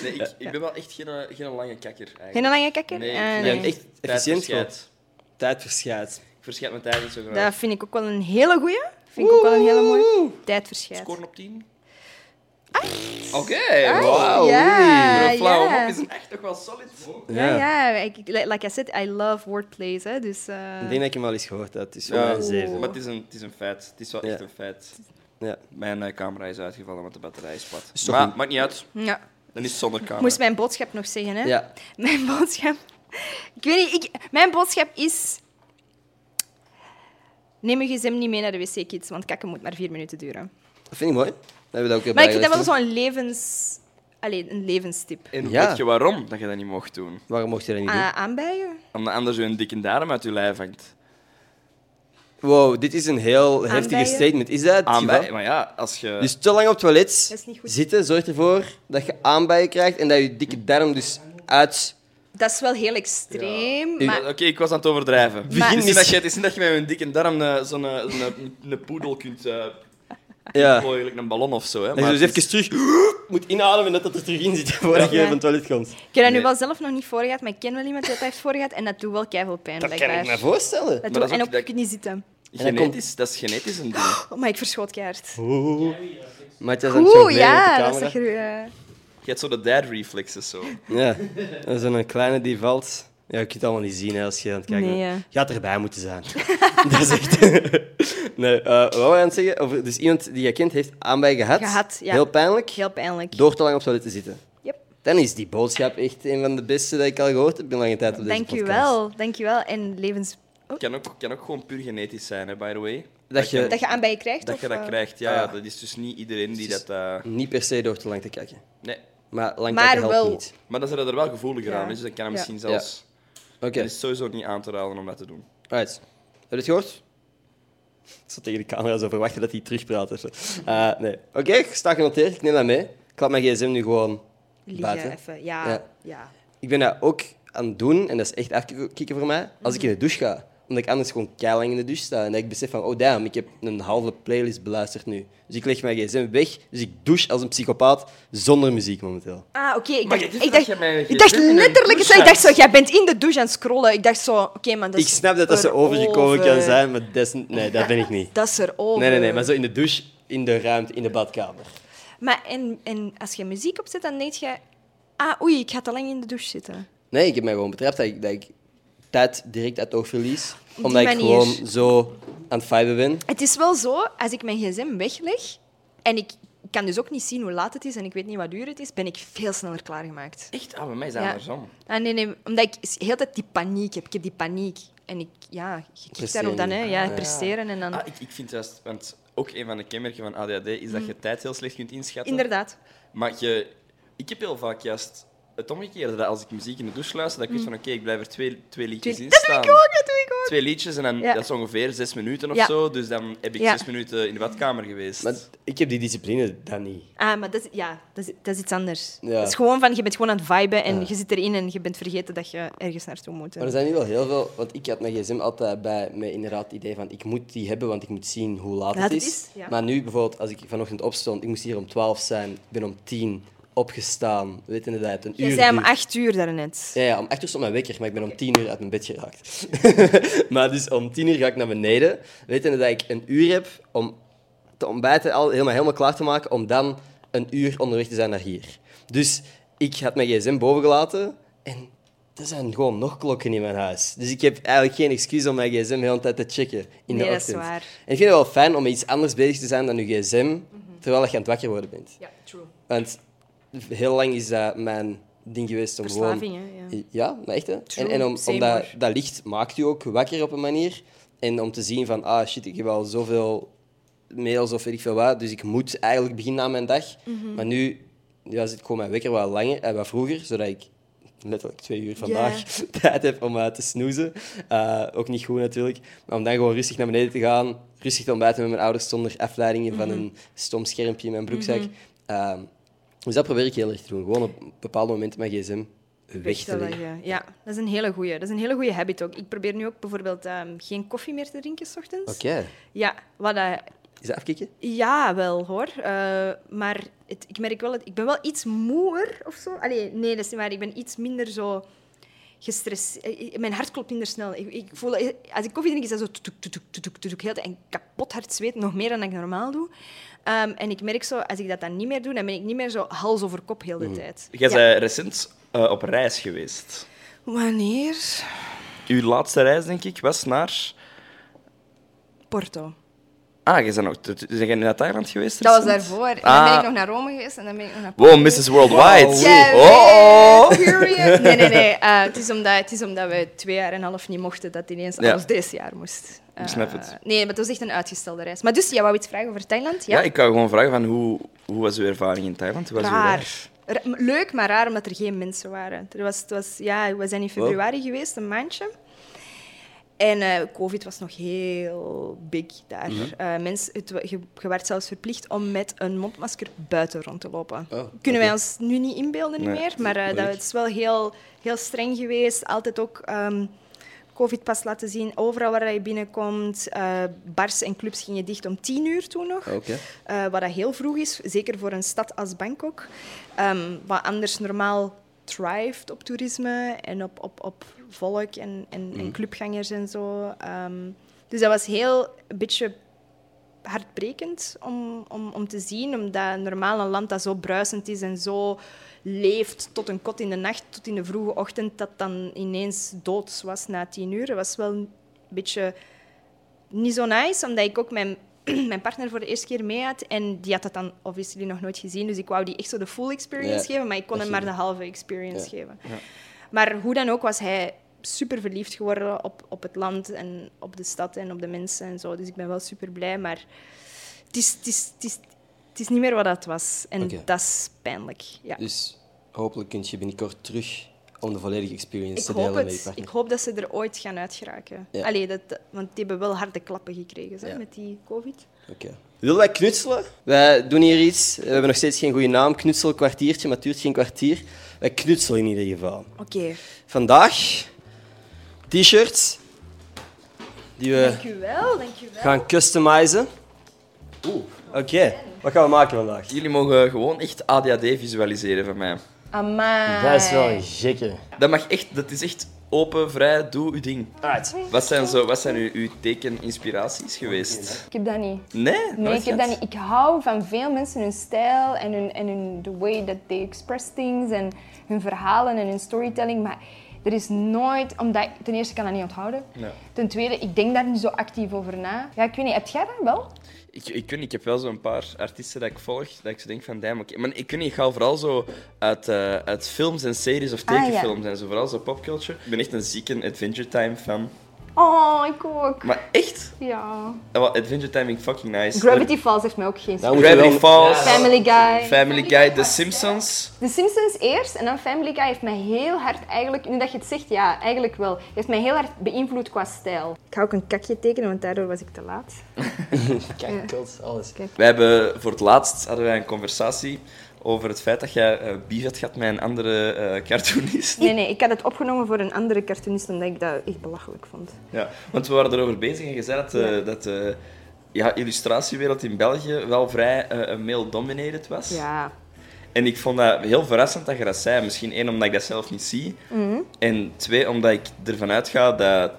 S3: Nee, ik, ik ben wel echt geen, eh, geen lange kakker. Eigenlijk.
S2: Geen lange kakker?
S3: Nee,
S2: Ah,
S3: ik-
S2: nee.
S1: Je bent echt efficiënt gewoon.
S3: Tijdverschijt.
S1: Tijd verschijt.
S3: Ik verschijt mijn tijd niet zo graag.
S2: Dat vind ik ook wel een hele goeie. Vind ik ook wel een hele mooie. Tijdverschijt. Ah,
S3: Scoren op 10? Oké, wow.
S1: Ah,
S2: Ja,
S3: Een flauwe mop
S2: ja.
S3: is een echt toch wel solid.
S2: Ja, ja. Ik, ik- like I said, I love wordplays. Hè, dus, eh,
S1: Ik denk dat ik hem al eens gehoord had. Het is
S3: Ja,
S1: wel een zeven.
S3: maar het is, een, het is een feit. Het is wel
S1: Ja.
S3: echt een feit.
S1: Ja.
S3: Mijn eh, camera is uitgevallen, want de batterij is plat.
S1: Is toch
S3: Maar
S1: een-
S3: maakt niet uit.
S2: ja.
S3: Dan is het zonder camera.
S2: Ik moest mijn boodschap nog zeggen, hè?
S1: Ja.
S2: Mijn boodschap. Ik weet niet, ik, mijn boodschap is. Neem je gsm niet mee naar de wc, kids, want kakken moet maar vier minuten duren.
S1: Dat vind ik mooi. Dat hebben we dat ook
S2: Maar ik
S1: erbij
S2: vind dat wel
S1: gezet.
S2: zo'n levens... Allee, een levenstip.
S3: En
S1: Ja.
S3: weet je waarom dat je dat niet mocht doen?
S1: Waarom mocht je dat niet doen?
S2: Ah, aanbijen?
S3: Omdat anders je een dikke darm uit je lijf hangt.
S1: Wow, dit is een heel heftige
S2: Aanbijen.
S1: statement. Is dat het
S3: Aan
S1: geval?
S3: bij, maar ja, als je...
S1: Dus te lang op het
S2: Dat
S1: toilet
S2: is niet goed.
S1: zitten zorgt ervoor dat je aanbijen krijgt en dat je dikke darm dus uit...
S2: Dat is wel heel extreem,
S1: Ja.
S3: Ja,
S2: maar...
S3: Oké, ik was aan het overdrijven.
S1: Maar-
S3: Het is niet dat je, het is niet dat je met een dikke darm eh, zo'n eh, zo'n, eh, een poedel kunt eh
S1: Ja.
S3: gooien, gelijk een ballon of zo. Hè,
S1: Dat je
S3: het
S1: dus
S3: is-
S1: even terug moet inademen en dat het er terug in zit voordat je
S2: Ja.
S1: van het toilet komt.
S2: Ik heb dat nu
S3: Nee.
S2: wel zelf nog niet voorgehad, maar ik ken wel iemand die dat heeft voorgehad en dat doet wel keihard pijn,
S1: Dat kan
S2: blijkbaar.
S1: ik me voorstellen.
S2: Dat
S3: Maar dat
S2: doet,
S3: is
S2: en
S3: ook
S2: ook
S3: dat-
S2: niet zitten.
S1: En dan
S3: genetisch, dat is genetisch een ding.
S2: Oh, maar ik verschoot keihard.
S1: Matthias aan het
S2: Oeh,
S1: jongleren
S2: ja,
S1: met
S2: dat
S1: de
S2: zag
S1: camera.
S2: er... eh,
S3: Je hebt zo de dad reflexes zo.
S1: Ja, dat is een kleine die valt. Ja, je kunt het allemaal niet zien hè, als je aan het kijken
S2: Nee,
S1: bent.
S2: ja.
S1: Je had erbij moeten zijn. dat is echt... nee, eh, wat wou je aan het zeggen? Over, dus iemand die je kent heeft aanbij gehad.
S2: Gehad, ja.
S1: Heel pijnlijk.
S2: Heel pijnlijk.
S1: Door te lang op het toilet te zitten.
S2: Yep.
S1: Dan is die boodschap echt een van de beste dat ik al gehoord heb in lange tijd op deze
S2: Dank je
S1: podcast.
S2: wel, dank je wel. En levens... Oh,
S3: Kan ook, kan ook gewoon puur genetisch zijn, hè, by the way.
S1: Dat je-
S3: kan-
S2: dat je aan bij je krijgt?
S3: dat,
S2: of,
S3: je dat
S2: eh,
S3: krijgt, ja, ja.
S1: Ah.
S3: Dat is dus niet iedereen die
S1: Het is-
S3: dat... eh,
S1: Niet per se door te lang te kijken.
S3: nee.
S1: Maar lang
S2: Maar
S1: helpt
S2: wel-
S1: niet.
S3: Maar dan zijn we er wel gevoeliger
S2: Ja.
S3: aan, weet je. Dat kan
S2: Ja.
S3: misschien zelfs...
S1: Oké,
S3: Het is sowieso niet aan te raden om dat te doen.
S1: right. Heb je het gehoord? Ik zat tegen de camera zo verwachten dat hij terugpraat. of zo. Eh, nee. Oké, sta genoteerd. Ik neem dat mee. Ik laat mijn gsm nu gewoon buiten.
S2: Liggen even. Ja,
S1: Ja.
S2: ja.
S1: Ik ben dat ook aan het doen, en dat is echt afkicken voor mij, als ik in de douche ga. Omdat ik anders gewoon keilang in de douche sta. En dat ik besef van, oh damn, ik heb een halve playlist beluisterd nu. Dus ik leg mijn gsm weg, dus ik douche als een psychopaat zonder muziek momenteel.
S2: Ah, oké. Ik
S3: Maar
S2: dacht,
S3: je
S2: ik
S3: dacht
S2: dacht,
S3: dat jij mij
S2: ik dacht
S3: geen zin in een
S2: letterlijk...
S3: douche
S2: zo, ik dacht
S3: had.
S2: zo, jij bent in de douche aan het scrollen. Ik dacht zo, oké, maar dat is
S1: Ik snap dat dat zo overgekomen
S2: erover.
S1: kan zijn, maar dat is, nee, dat ben ik niet.
S2: Dat is erover.
S1: Nee, nee, nee, maar zo in de douche, in de ruimte, in de badkamer.
S2: Maar en, en als je muziek opzet, dan denk je... Ah, oei, ik ga te lang in de douche zitten.
S1: Nee, ik heb mij gewoon betrapt dat ik, dat ik tijd direct uit het oog verlies.
S2: die
S1: Omdat ik
S2: manier.
S1: gewoon zo aan het viben ben.
S2: Het is wel zo, als ik mijn gsm wegleg en ik kan dus ook niet zien hoe laat het is en ik weet niet wat uur het is, ben ik veel sneller klaargemaakt.
S3: Echt? Ah, bij mij is dat
S2: Ja.
S3: andersom.
S2: Ah, nee, nee, omdat ik s- heel de tijd die paniek heb. Ik heb die paniek. En ik, ja, je kikt
S1: Presteren.
S2: daarop dan, hè. Ja,
S1: Ah, ja.
S2: presteren en dan...
S3: Ah, ik, ik vind juist... Want ook een van de kenmerken van ADHD is dat je tijd heel slecht kunt inschatten.
S2: Mhm. Inderdaad.
S3: Maar je, ik heb heel vaak juist het omgekeerde. Dat als ik muziek in de douche luister, dat ik weet van oké, ik blijf er twee, twee liedjes in
S2: Mhm. Dat doe
S3: staan.
S2: ik ook, dat doe ik ook.
S3: Twee liedjes en dan,
S2: Ja.
S3: dat is ongeveer zes minuten of
S2: Ja.
S3: zo. Dus dan heb ik
S2: Ja.
S3: zes minuten in de badkamer geweest.
S1: Maar ik heb die discipline dan niet.
S2: Ah, maar dat is, ja, dat is, dat is iets anders.
S1: Ja.
S2: Dat is gewoon van, je bent gewoon aan het viben en
S1: Ja.
S2: je zit erin en je bent vergeten dat je ergens naartoe moet.
S1: Maar er zijn nu wel heel veel, want ik had mijn gsm altijd bij me inderdaad het idee van ik moet die hebben, want ik moet zien hoe laat
S2: Laat
S1: het
S2: het
S1: is.
S2: is, ja.
S1: Maar nu bijvoorbeeld, als ik vanochtend opstond, ik moest hier om 12 zijn, ik ben om 10 opgestaan, weet je dat het een uur
S2: Je zei om
S1: duurt.
S2: acht uur daarnet.
S1: Ja, ja, om 8 uur stond mijn wekker, maar ik ben om 10 uur uit mijn bed geraakt. maar dus om 10 uur ga ik naar beneden, wetende dat ik een uur heb om te ontbijten, al helemaal, helemaal klaar te maken, om dan een uur onderweg te zijn naar hier. Dus ik had mijn gsm boven gelaten en er zijn gewoon nog klokken in mijn huis. Dus ik heb eigenlijk geen excuus om mijn gsm de hele tijd te checken in de
S2: Nee, dat is
S1: ochtend.
S2: waar. Mhm.
S1: En ik vind het wel fijn om met iets anders bezig te zijn dan je gsm, terwijl je aan het wakker worden bent.
S2: Ja, true.
S1: Want heel lang is dat mijn ding geweest om
S2: Verslaving,
S1: gewoon...
S2: hè,
S1: Ja, maar echt, hè?
S2: True,
S1: En, en om,
S2: same
S1: omdat
S2: hoor.
S1: dat licht maakt u ook wakker op een manier. En om te zien van, ah shit, ik heb al zoveel mails of weet ik veel wat, dus ik moet eigenlijk beginnen aan mijn dag.
S5: Mhm.
S1: Maar nu ja, zit gewoon mijn wekker wat langer en wat vroeger, zodat ik letterlijk twee uur vandaag tijd heb om eh, te snoezen. Eh, ook niet goed natuurlijk. Maar om dan gewoon rustig naar beneden te gaan, rustig te ontbijten met mijn ouders zonder afleidingen
S5: Mhm.
S1: van een stom schermpje in mijn broekzak. Ehm, dus dat probeer ik heel erg te doen. Gewoon op bepaalde momenten mijn gsm weg
S2: Dus
S1: te leggen.
S2: eh, Ja, dat is een hele goeie. Dat is een hele goede habit ook. Ik probeer nu ook bijvoorbeeld ehm, geen koffie meer te drinken 's ochtends.
S1: Oké,
S2: Ja, wat eh, dat-
S1: is dat afkicken?
S2: ja, wel hoor. Eh, maar het- ik merk wel, dat ik ben wel iets moeer of zo. Allee, nee, dat is niet waar. Ik ben iets minder zo gestresseerd. Mijn hart klopt minder snel. Ik, ik voel, eh, als ik koffie drink, is dat zo toetuk, toetuk, toetuk, toetuk, heel de tijd. en kapot hard zweet, nog meer dan ik normaal doe. Ehm, en ik merk zo, als ik dat dan niet meer doe, dan ben ik niet meer zo hals over kop heel de tijd.
S3: Mm. Jij
S2: Ja.
S3: bent recent eh, op reis geweest.
S2: Wanneer?
S3: Uw laatste reis, denk ik, was naar...
S2: Porto.
S3: Ah, je bent nog... t- t- Zijn jij nu naar Thailand geweest
S2: Dat was
S3: recent?
S2: daarvoor. En dan
S3: Ah.
S2: ben ik nog naar Rome geweest en dan ben ik nog naar Porto.
S3: Wow, Mrs. Worldwide.
S2: Jij
S3: Oh, oh.
S2: weet, period. Nee, nee, nee. Eh, het, is omdat, het is omdat we twee jaar en een half niet mochten dat ineens
S3: Ja.
S2: alles deze jaar moest. Eh,
S3: Ik snap het.
S2: Nee, maar het was echt een uitgestelde reis. Maar dus, jij wou iets vragen over Thailand? Ja,
S3: Ja, ik kan gewoon vragen van hoe, hoe was uw ervaring in Thailand? Hoe was uw reis?
S2: raar. Ra- Leuk, maar raar omdat er geen mensen waren. Er was, het was, ja, we zijn in februari geweest, een maandje. En eh, COVID was nog heel big daar.
S3: Mhm.
S2: Eh, mens, het, wa- je, je werd zelfs verplicht om met een mondmasker buiten rond te lopen.
S1: Oh,
S2: Kunnen
S1: oké.
S2: wij ons nu niet inbeelden niet
S3: Nee,
S2: meer, maar eh, dat
S1: moeilijk.
S2: is wel heel, heel streng geweest. Altijd ook ehm, COVID-pas laten zien, overal waar je binnenkomt. Eh, bars en clubs gingen dicht om tien uur toen nog.
S1: Oké.
S2: Eh, wat dat heel vroeg is, zeker voor een stad als Bangkok. Ehm, wat anders normaal thrived op toerisme en op, op, op volk en, en, en clubgangers en zo. Ehm, dus dat was heel een beetje hartbrekend om, om, om te zien, omdat normaal een land dat zo bruisend is en zo leeft tot een kot in de nacht, tot in de vroege ochtend, dat dan ineens dood was na tien uur. Dat was wel een beetje niet zo nice, omdat ik ook mijn, mijn partner voor de eerste keer mee had. En die had dat dan obviously nog nooit gezien. Dus ik wou die echt zo de full experience
S1: Ja,
S2: geven, maar ik kon
S1: dat
S2: hem maar de
S1: ging.
S2: halve experience
S1: Ja.
S2: geven. Maar hoe dan ook was hij super verliefd geworden op, op het land en op de stad en op de mensen en zo. Dus ik ben wel super blij, maar het is, het is, het is, het is niet meer wat dat was. En
S1: Oké.
S2: dat is pijnlijk. Ja.
S1: Dus Hopelijk kun je binnenkort terug om de volledige experience
S5: Ik
S1: te
S5: hoop
S1: delen met je
S5: het.
S1: partner.
S5: Ik hoop dat ze er ooit gaan uitgeraken.
S1: Ja.
S5: Allee, dat, want die hebben wel harde klappen gekregen zo,
S1: Ja.
S5: met die covid.
S1: Oké. Willen wij knutselen? Wij doen hier iets. We hebben nog steeds geen goede naam. Knutsel kwartiertje, maar het duurt geen kwartier. Wij knutselen in ieder geval.
S5: Oké,
S1: Vandaag t-shirts die we
S5: dankjewel, dankjewel.
S1: gaan customizen. Oeh. Oké, wat gaan we maken vandaag?
S3: Jullie mogen gewoon echt ADHD visualiseren van mij.
S5: Amai.
S1: Dat is wel een gekke.
S3: Dat mag echt, dat is echt open, vrij, doe uw ding.
S1: Alright.
S3: Wat zijn, zo, wat zijn uw, uw tekeninspiraties geweest?
S2: Ik heb dat niet.
S3: Nee?
S2: Nee, ik heb dat niet. Ik hou van veel mensen hun stijl en hun, en hun the way that they express things en hun verhalen en hun storytelling. Maar er is nooit, omdat ik- ten eerste kan dat niet onthouden. Ten tweede, ik denk daar niet zo actief over na. Ja, ik weet niet, heb jij dat wel?
S3: Ik, ik, weet niet, ik heb wel zo'n paar artiesten dat ik volg, dat ik zo denk van, damn, oké. Maar ik weet niet, ik ga vooral zo uit, eh, uit films en series of
S2: Ah, ja.
S3: tekenfilms en zo, vooral zo popculture. Ik ben echt een zieke Adventure Time fan.
S2: Oh, ik ook.
S3: Maar echt,
S2: Ja.
S3: eh, wel, Adventure Time vind ik fucking nice.
S2: Gravity Falls heeft mij ook geen
S1: Nou,
S2: zin.
S1: moet je
S3: Gravity
S1: wel-
S3: Falls,
S2: Family Guy.
S3: Family Guy, The Simpsons.
S2: De Simpsons eerst en dan Family Guy heeft mij heel hard eigenlijk, nu dat je het zegt, ja, eigenlijk wel. Heeft mij heel hard beïnvloed qua stijl.
S5: Ik ga ook een kakje tekenen, want daardoor was ik te laat.
S1: Kijk, kut, alles.
S3: Wij hebben voor het laatst hadden wij een conversatie over het feit dat jij eh beef had gehad met een andere eh, cartoonist.
S5: Nee, nee, ik had het opgenomen voor een andere cartoonist, omdat ik dat echt belachelijk vond.
S3: Ja, want we waren erover bezig en je zei dat, eh, dat de ja, illustratiewereld in België wel vrij eh, male-dominated was.
S5: Ja.
S3: En ik vond dat heel verrassend dat je dat zei. Misschien één, omdat ik dat zelf niet zie.
S2: Mhm.
S3: En twee, omdat ik ervan uitga dat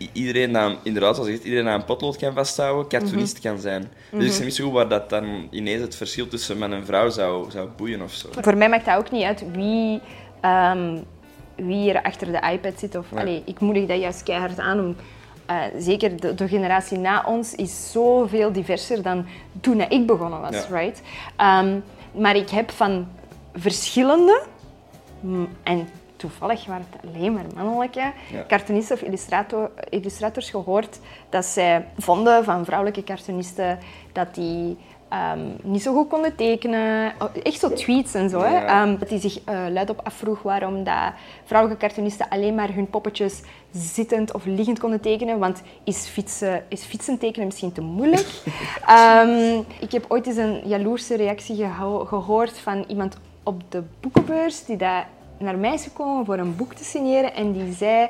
S3: i- iedereen aan, inderdaad, zoals je zegt, iedereen aan een potlood kan vasthouden, cartoonist
S2: Mhm.
S3: kan zijn. Dus ik snap niet zo goed waar dat dan ineens het verschil tussen man en vrouw zou, zou boeien of zo.
S2: Voor mij maakt dat ook niet uit wie, ehm, wie er achter de iPad zit. Of,
S3: Nee.
S2: allee, ik moedig dat juist keihard aan om... eh, zeker de, de generatie na ons is zoveel diverser dan toen dat ik begonnen was,
S3: Ja.
S2: right? Ehm, maar ik heb van verschillende, mm, en toevallig waren het alleen maar mannelijke, cartoonisten of illustrator, illustrators gehoord dat zij vonden van vrouwelijke cartoonisten dat die ehm, niet zo goed konden tekenen. Oh, Echt zo tweets en zo. Hè?
S3: Ja.
S2: Ehm, dat die zich eh, luid op afvroeg waarom dat vrouwelijke cartoonisten alleen maar hun poppetjes zittend of liggend konden tekenen. Want is fietsen, is fietsen tekenen misschien te moeilijk? Ehm, ik heb ooit eens een jaloerse reactie geho- gehoord van iemand op de boekenbeurs die daar naar mij is gekomen voor een boek te signeren. En die zei,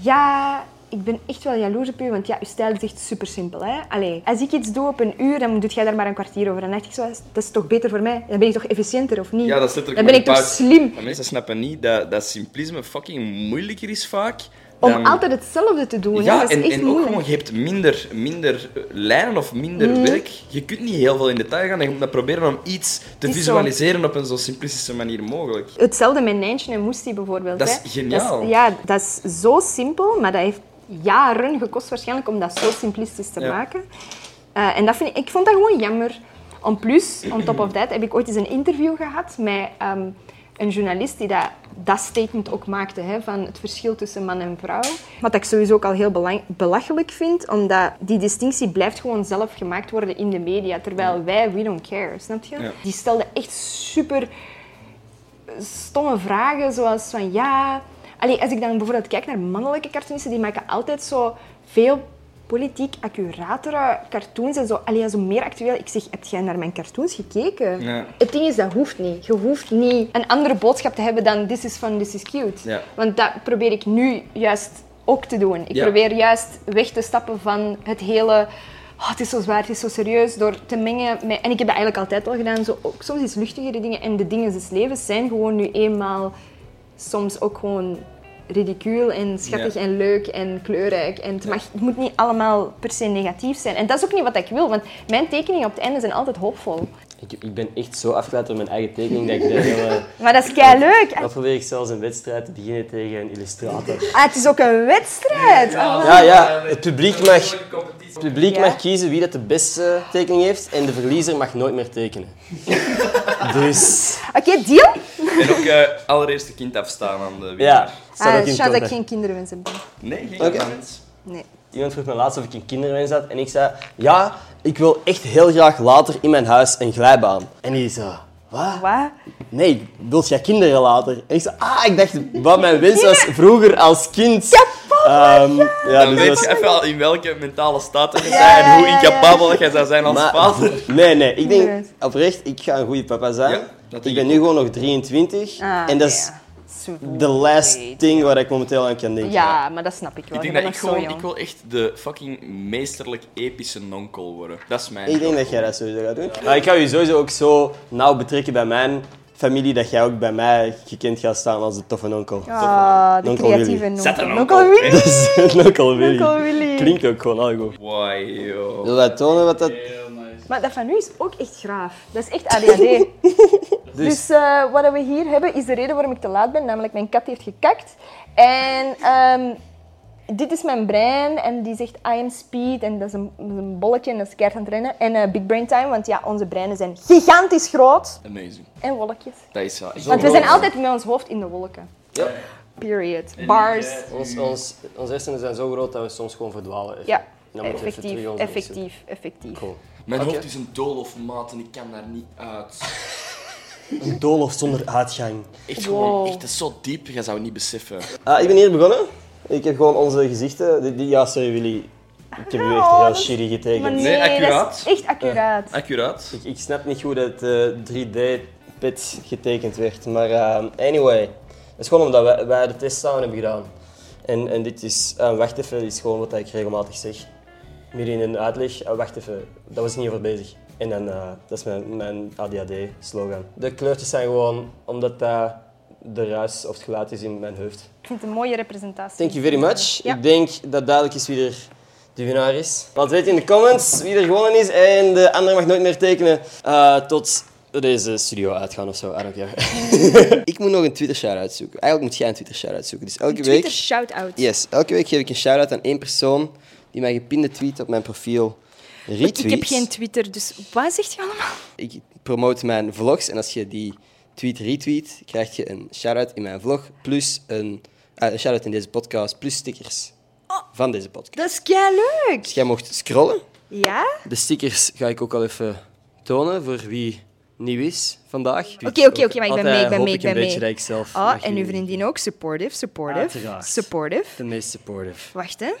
S2: ja, ik ben echt wel jaloers op u, want ja, uw stijl is echt super simpel. Hè? Allee, als ik iets doe op een uur, dan doet jij daar maar een kwartier over. En dan dacht ik zo, dat is toch beter voor mij? Dan ben ik toch efficiënter, of niet?
S3: Ja, dat zit er
S2: dan ben ik toch slim.
S3: Maar mensen snappen niet dat, dat simplisme fucking moeilijker is vaak.
S2: Om
S3: dan-
S2: altijd hetzelfde te doen, hè?
S3: Ja,
S2: dat is
S3: en,
S2: echt
S3: en ook
S2: moeilijk.
S3: gewoon, je hebt minder, minder eh, lijnen of minder werk. Je kunt niet heel veel in detail gaan en je moet dat proberen om iets te
S2: is zo.
S3: visualiseren op een zo simplistische manier mogelijk.
S2: Hetzelfde met Nijntje en Moestie bijvoorbeeld.
S3: Dat is
S2: hè.
S3: geniaal.
S2: Dat is- ja, dat is zo simpel, maar dat heeft jaren gekost waarschijnlijk om dat zo simplistisch te
S3: Ja.
S2: maken. Eh, en dat vind ik, ik vond dat gewoon jammer. En plus, on top of that, heb ik ooit eens een interview gehad met ehm, een journalist die dat, dat statement ook maakte, hè, van het verschil tussen man en vrouw. Wat ik sowieso ook al heel belang- belachelijk vind, omdat die distinctie blijft gewoon zelf gemaakt worden in de media, terwijl wij, we don't care, snap je?
S3: Ja.
S2: Die stelde echt super stomme vragen, zoals van ja... Allee, als ik dan bijvoorbeeld kijk naar mannelijke cartoonisten, die maken altijd zo veel politiek accuratere cartoons en zo. Allee, ja, zo meer actueel. Ik zeg, heb jij naar mijn cartoons gekeken?
S3: Ja.
S2: Het ding is, dat hoeft niet. Je hoeft niet een andere boodschap te hebben dan this is fun, this is cute.
S3: Ja.
S2: Want dat probeer ik nu juist ook te doen. Ik
S3: Ja.
S2: probeer juist weg te stappen van het hele... "Oh, het is zo zwaar, het is zo serieus, door te mengen met... En ik heb dat eigenlijk altijd al gedaan, zo, ook soms iets luchtigere dingen. En de dingen des levens zijn gewoon nu eenmaal soms ook gewoon ridicuul en schattig
S3: Ja.
S2: en leuk en kleurrijk. En het, mag, het moet niet allemaal per se negatief zijn. En dat is ook niet wat ik wil, want mijn tekeningen op het einde zijn altijd hoopvol.
S1: Ik, ik ben echt zo afgeleid door mijn eigen tekening dat ik de hele...
S2: Maar dat is kei leuk.
S1: Dan probeer ik zelfs een wedstrijd te beginnen tegen een illustrator.
S2: Ah, het is ook een wedstrijd. Oh.
S1: Ja, ja, het publiek mag, het
S3: competitie.
S1: publiek
S2: Ja.
S1: mag kiezen wie dat de beste tekening heeft en de verliezer mag nooit meer tekenen. Dus,
S2: Oké, deal?
S3: En ook eh, allereerste kind afstaan aan de
S1: ja.
S3: winnaar.
S1: het staat
S2: Ah,
S1: ook in het
S2: Chance dat ik
S1: contract.
S2: geen kinderwens heb.
S3: Nee, geen
S1: Oké.
S3: comments.
S2: Nee.
S1: Iemand vroeg me laatst of ik een kinderwens had en ik zei, ja, ik wil echt heel graag later in mijn huis een glijbaan. En die zo, Wat?
S6: Wat?
S1: Nee, wilt jij kinderen later? En ik zei, ah, ik dacht, wat mijn wens was vroeger als kind. Ehm, ja,
S3: Dan
S1: dus
S3: Eh, weet
S1: dat
S3: je
S1: is-
S3: even al in welke mentale staat je bent en hoe incapabel dat jij zou zijn als vader.
S1: Nee, nee, ik denk
S6: Inderdaad.
S1: oprecht, ik ga een goede papa zijn.
S3: Ja, dat denk
S1: ik ben
S3: ik
S1: nu gewoon nog 23
S6: Ah,
S1: en dat is
S6: ja.
S1: the last thing waar ik momenteel aan kan denken.
S6: Ja, maar dat snap ik wel.
S3: Ik denk
S6: je
S3: dat
S6: bent nog
S3: ik
S6: zo
S3: gewoon, ik
S6: jong.
S3: wil echt de fucking meesterlijk epische nonkel worden. Dat is mijn
S1: Ik denk dat jij dat sowieso gaat doen. Maar Ah, ik ga je sowieso ook zo nauw betrekken bij mijn familie, dat jij ook bij mij gekend gaat staan als de toffe onkel.
S6: Ah, de
S1: Onkel
S6: creatieve
S1: Willy.
S6: noem.
S3: Zet een
S6: Onkel
S3: onkel.
S6: Willy.
S3: Echt?
S1: Dus een onkel Willy.
S6: Onkel Willy.
S1: Klinkt ook gewoon al goed.
S3: Why, yo.
S1: Wil dat tonen wat dat...
S6: Maar dat van nu is ook echt graaf. Dat is echt ADHD. dus eh, wat we hier hebben is de reden waarom ik te laat ben. Namelijk, mijn kat heeft gekakt. En ehm, dit is mijn brein. En die zegt I am speed. En dat is een, dat is een bolletje. En dat is keihard aan het rennen. En eh, big brain time. Want ja, onze breinen zijn gigantisch groot.
S3: Amazing.
S6: En wolkjes.
S3: Dat is wel echt
S6: Want we
S3: wel-
S6: zijn altijd met ons hoofd in de wolken.
S1: Ja.
S6: Period. Bars.
S1: Ons, ons, onze hersenen zijn zo groot dat we soms gewoon verdwalen. even.
S6: Ja.
S1: En dan moeten we even
S6: Effectief,
S1: terug ons inzetten.
S6: effectief, effectief.
S1: Cool.
S3: Mijn
S1: Oké.
S3: hoofd is een doolhof, maat, en ik kan daar niet uit.
S1: Een doolhof zonder uitgang.
S3: Echt
S6: Wow.
S3: gewoon, echt, dat is zo diep, je zou het niet beseffen.
S1: Ah, ik ben hier begonnen. Ik heb gewoon onze gezichten... die- die- ja, sorry Willy. Ik heb u echt
S6: Oh,
S1: heel
S6: dat is-
S1: shitty getekend.
S6: Maar nee,
S3: Nee,
S6: dat
S3: accuraat.
S6: is echt accuraat.
S3: Accuraat.
S1: Ik, ik snap niet hoe dat eh 3D-pit getekend werd. Maar eh, anyway, dat is gewoon omdat wij, wij de test samen hebben gedaan. En, en dit is, eh, wacht even, is gewoon wat ik regelmatig zeg. Meer in een uitleg, eh, wacht even, daar was ik niet over bezig. En dan, eh, dat is mijn, mijn ADHD-slogan. De kleurtjes zijn gewoon omdat dat de ruis of het geluid is in mijn hoofd.
S6: Ik vind het een mooie representatie.
S1: Thank you very much.
S6: Ja.
S1: Ik denk dat duidelijk is wie er de winnaar is. Laat weten in de comments wie er gewonnen is. En de andere mag nooit meer tekenen eh, tot we deze studio uitgaan of zo. I don't care. ik moet nog een Twitter shout-out zoeken. Eigenlijk moet jij een Twitter shout-out zoeken. Dus elke
S2: Twitter
S1: week...
S2: shout-out.
S1: Yes, elke week geef ik een shout-out aan één persoon die mijn gepinde tweet op mijn profiel retweet.
S2: Ik heb geen Twitter, dus wat zegt je allemaal?
S1: Ik promote mijn vlogs en als je die tweet retweet, krijg je een shout-out in mijn vlog, plus een, eh, een shout-out in deze podcast, plus stickers
S2: Oh.
S1: van deze podcast.
S2: Dat is kei leuk.
S1: Dus jij mocht scrollen.
S2: Ja?
S1: De stickers ga ik ook al even tonen voor wie nieuw is vandaag.
S2: Oké, oké, oké, maar ik ben mee, ik
S1: Altijd
S2: ben mee,
S1: hoop
S2: ik ben
S1: een beetje dat
S2: mee.
S1: ik zelf...
S2: Oh,
S1: mag
S2: en uw
S1: jullie-
S2: vriendin ook. Supportive, supportive.
S1: Uiteraard.
S2: Supportive.
S1: De meest supportive.
S2: Wacht, hè.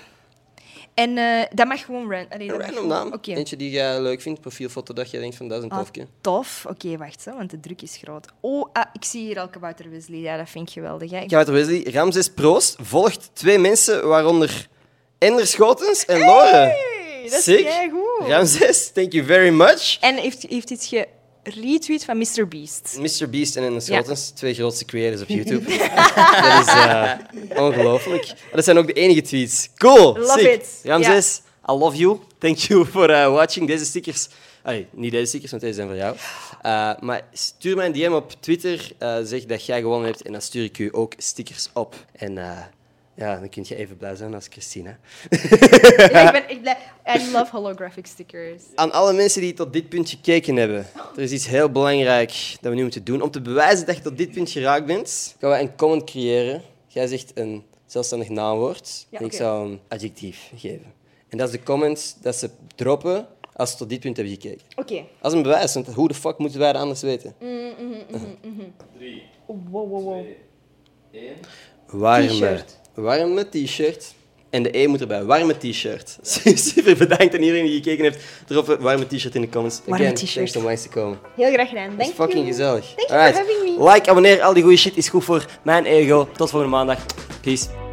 S2: En eh, dat mag gewoon ran allee, dat
S1: Een
S2: mag
S1: random
S2: gewoon-
S1: naam.
S2: Oké.
S1: Eentje die jij leuk vindt, profielfoto dat je denkt van dat is een
S2: Ah,
S1: tofje.
S2: tof. Oké, wacht, hè, want de druk is groot. Oh, ah, ik zie hier al Kabouter Wesley. Ja, dat vind ik geweldig. Hè.
S1: Kabouter Wesley, Ramses Proost volgt twee mensen, waaronder Ender Schotens en Lore.
S2: Hey, dat
S1: Sick.
S2: is goed.
S1: Ramses, thank you very much.
S2: En heeft, heeft iets geretweet van Mr. Beast.
S1: Mr. Beast en Ender Schotens, twee grootste creators op YouTube. dat is eh, ongelooflijk. Dat zijn ook de enige tweets. Cool,
S2: Love
S1: sick.
S2: it.
S1: Ramses, I love you. Thank you for eh, watching deze stickers. Allee, niet deze stickers, want deze zijn voor jou. Eh, maar stuur mij een DM op Twitter. eh, zeg dat jij gewonnen hebt en dan stuur ik u ook stickers op. En eh, ja, dan kun je even blij zijn als Christina.
S2: Ja, ik ben echt blij. I love holographic stickers.
S1: Aan alle mensen die tot dit punt gekeken hebben, er is iets heel belangrijk dat we nu moeten doen. Om te bewijzen dat je tot dit punt geraakt bent, gaan we een comment creëren. Jij zegt een zelfstandig naamwoord en ik
S2: oké.
S1: zou een adjectief geven. En dat is de comment dat ze droppen als ze tot dit punt hebben gekeken.
S6: Oké.
S1: Als een bewijs, want hoe de fuck moeten wij dat anders weten?
S2: Mm.
S6: Wow, wow, wow.
S1: Warme.
S6: T-shirt.
S1: Warme t-shirt. En de E moet erbij. Warme t-shirt. Super bedankt aan iedereen die gekeken heeft. Drop een warme t-shirt in de comments.
S2: Warme
S1: Again,
S2: t-shirt.
S1: thanks om langs te komen.
S6: Heel graag gedaan.
S1: Dat is
S6: Thank
S1: fucking
S6: you.
S1: gezellig.
S6: Thank you for
S1: Alright.
S6: having me.
S1: Like, abonneer, al die goede shit is goed voor mijn ego. Tot volgende maandag. Peace.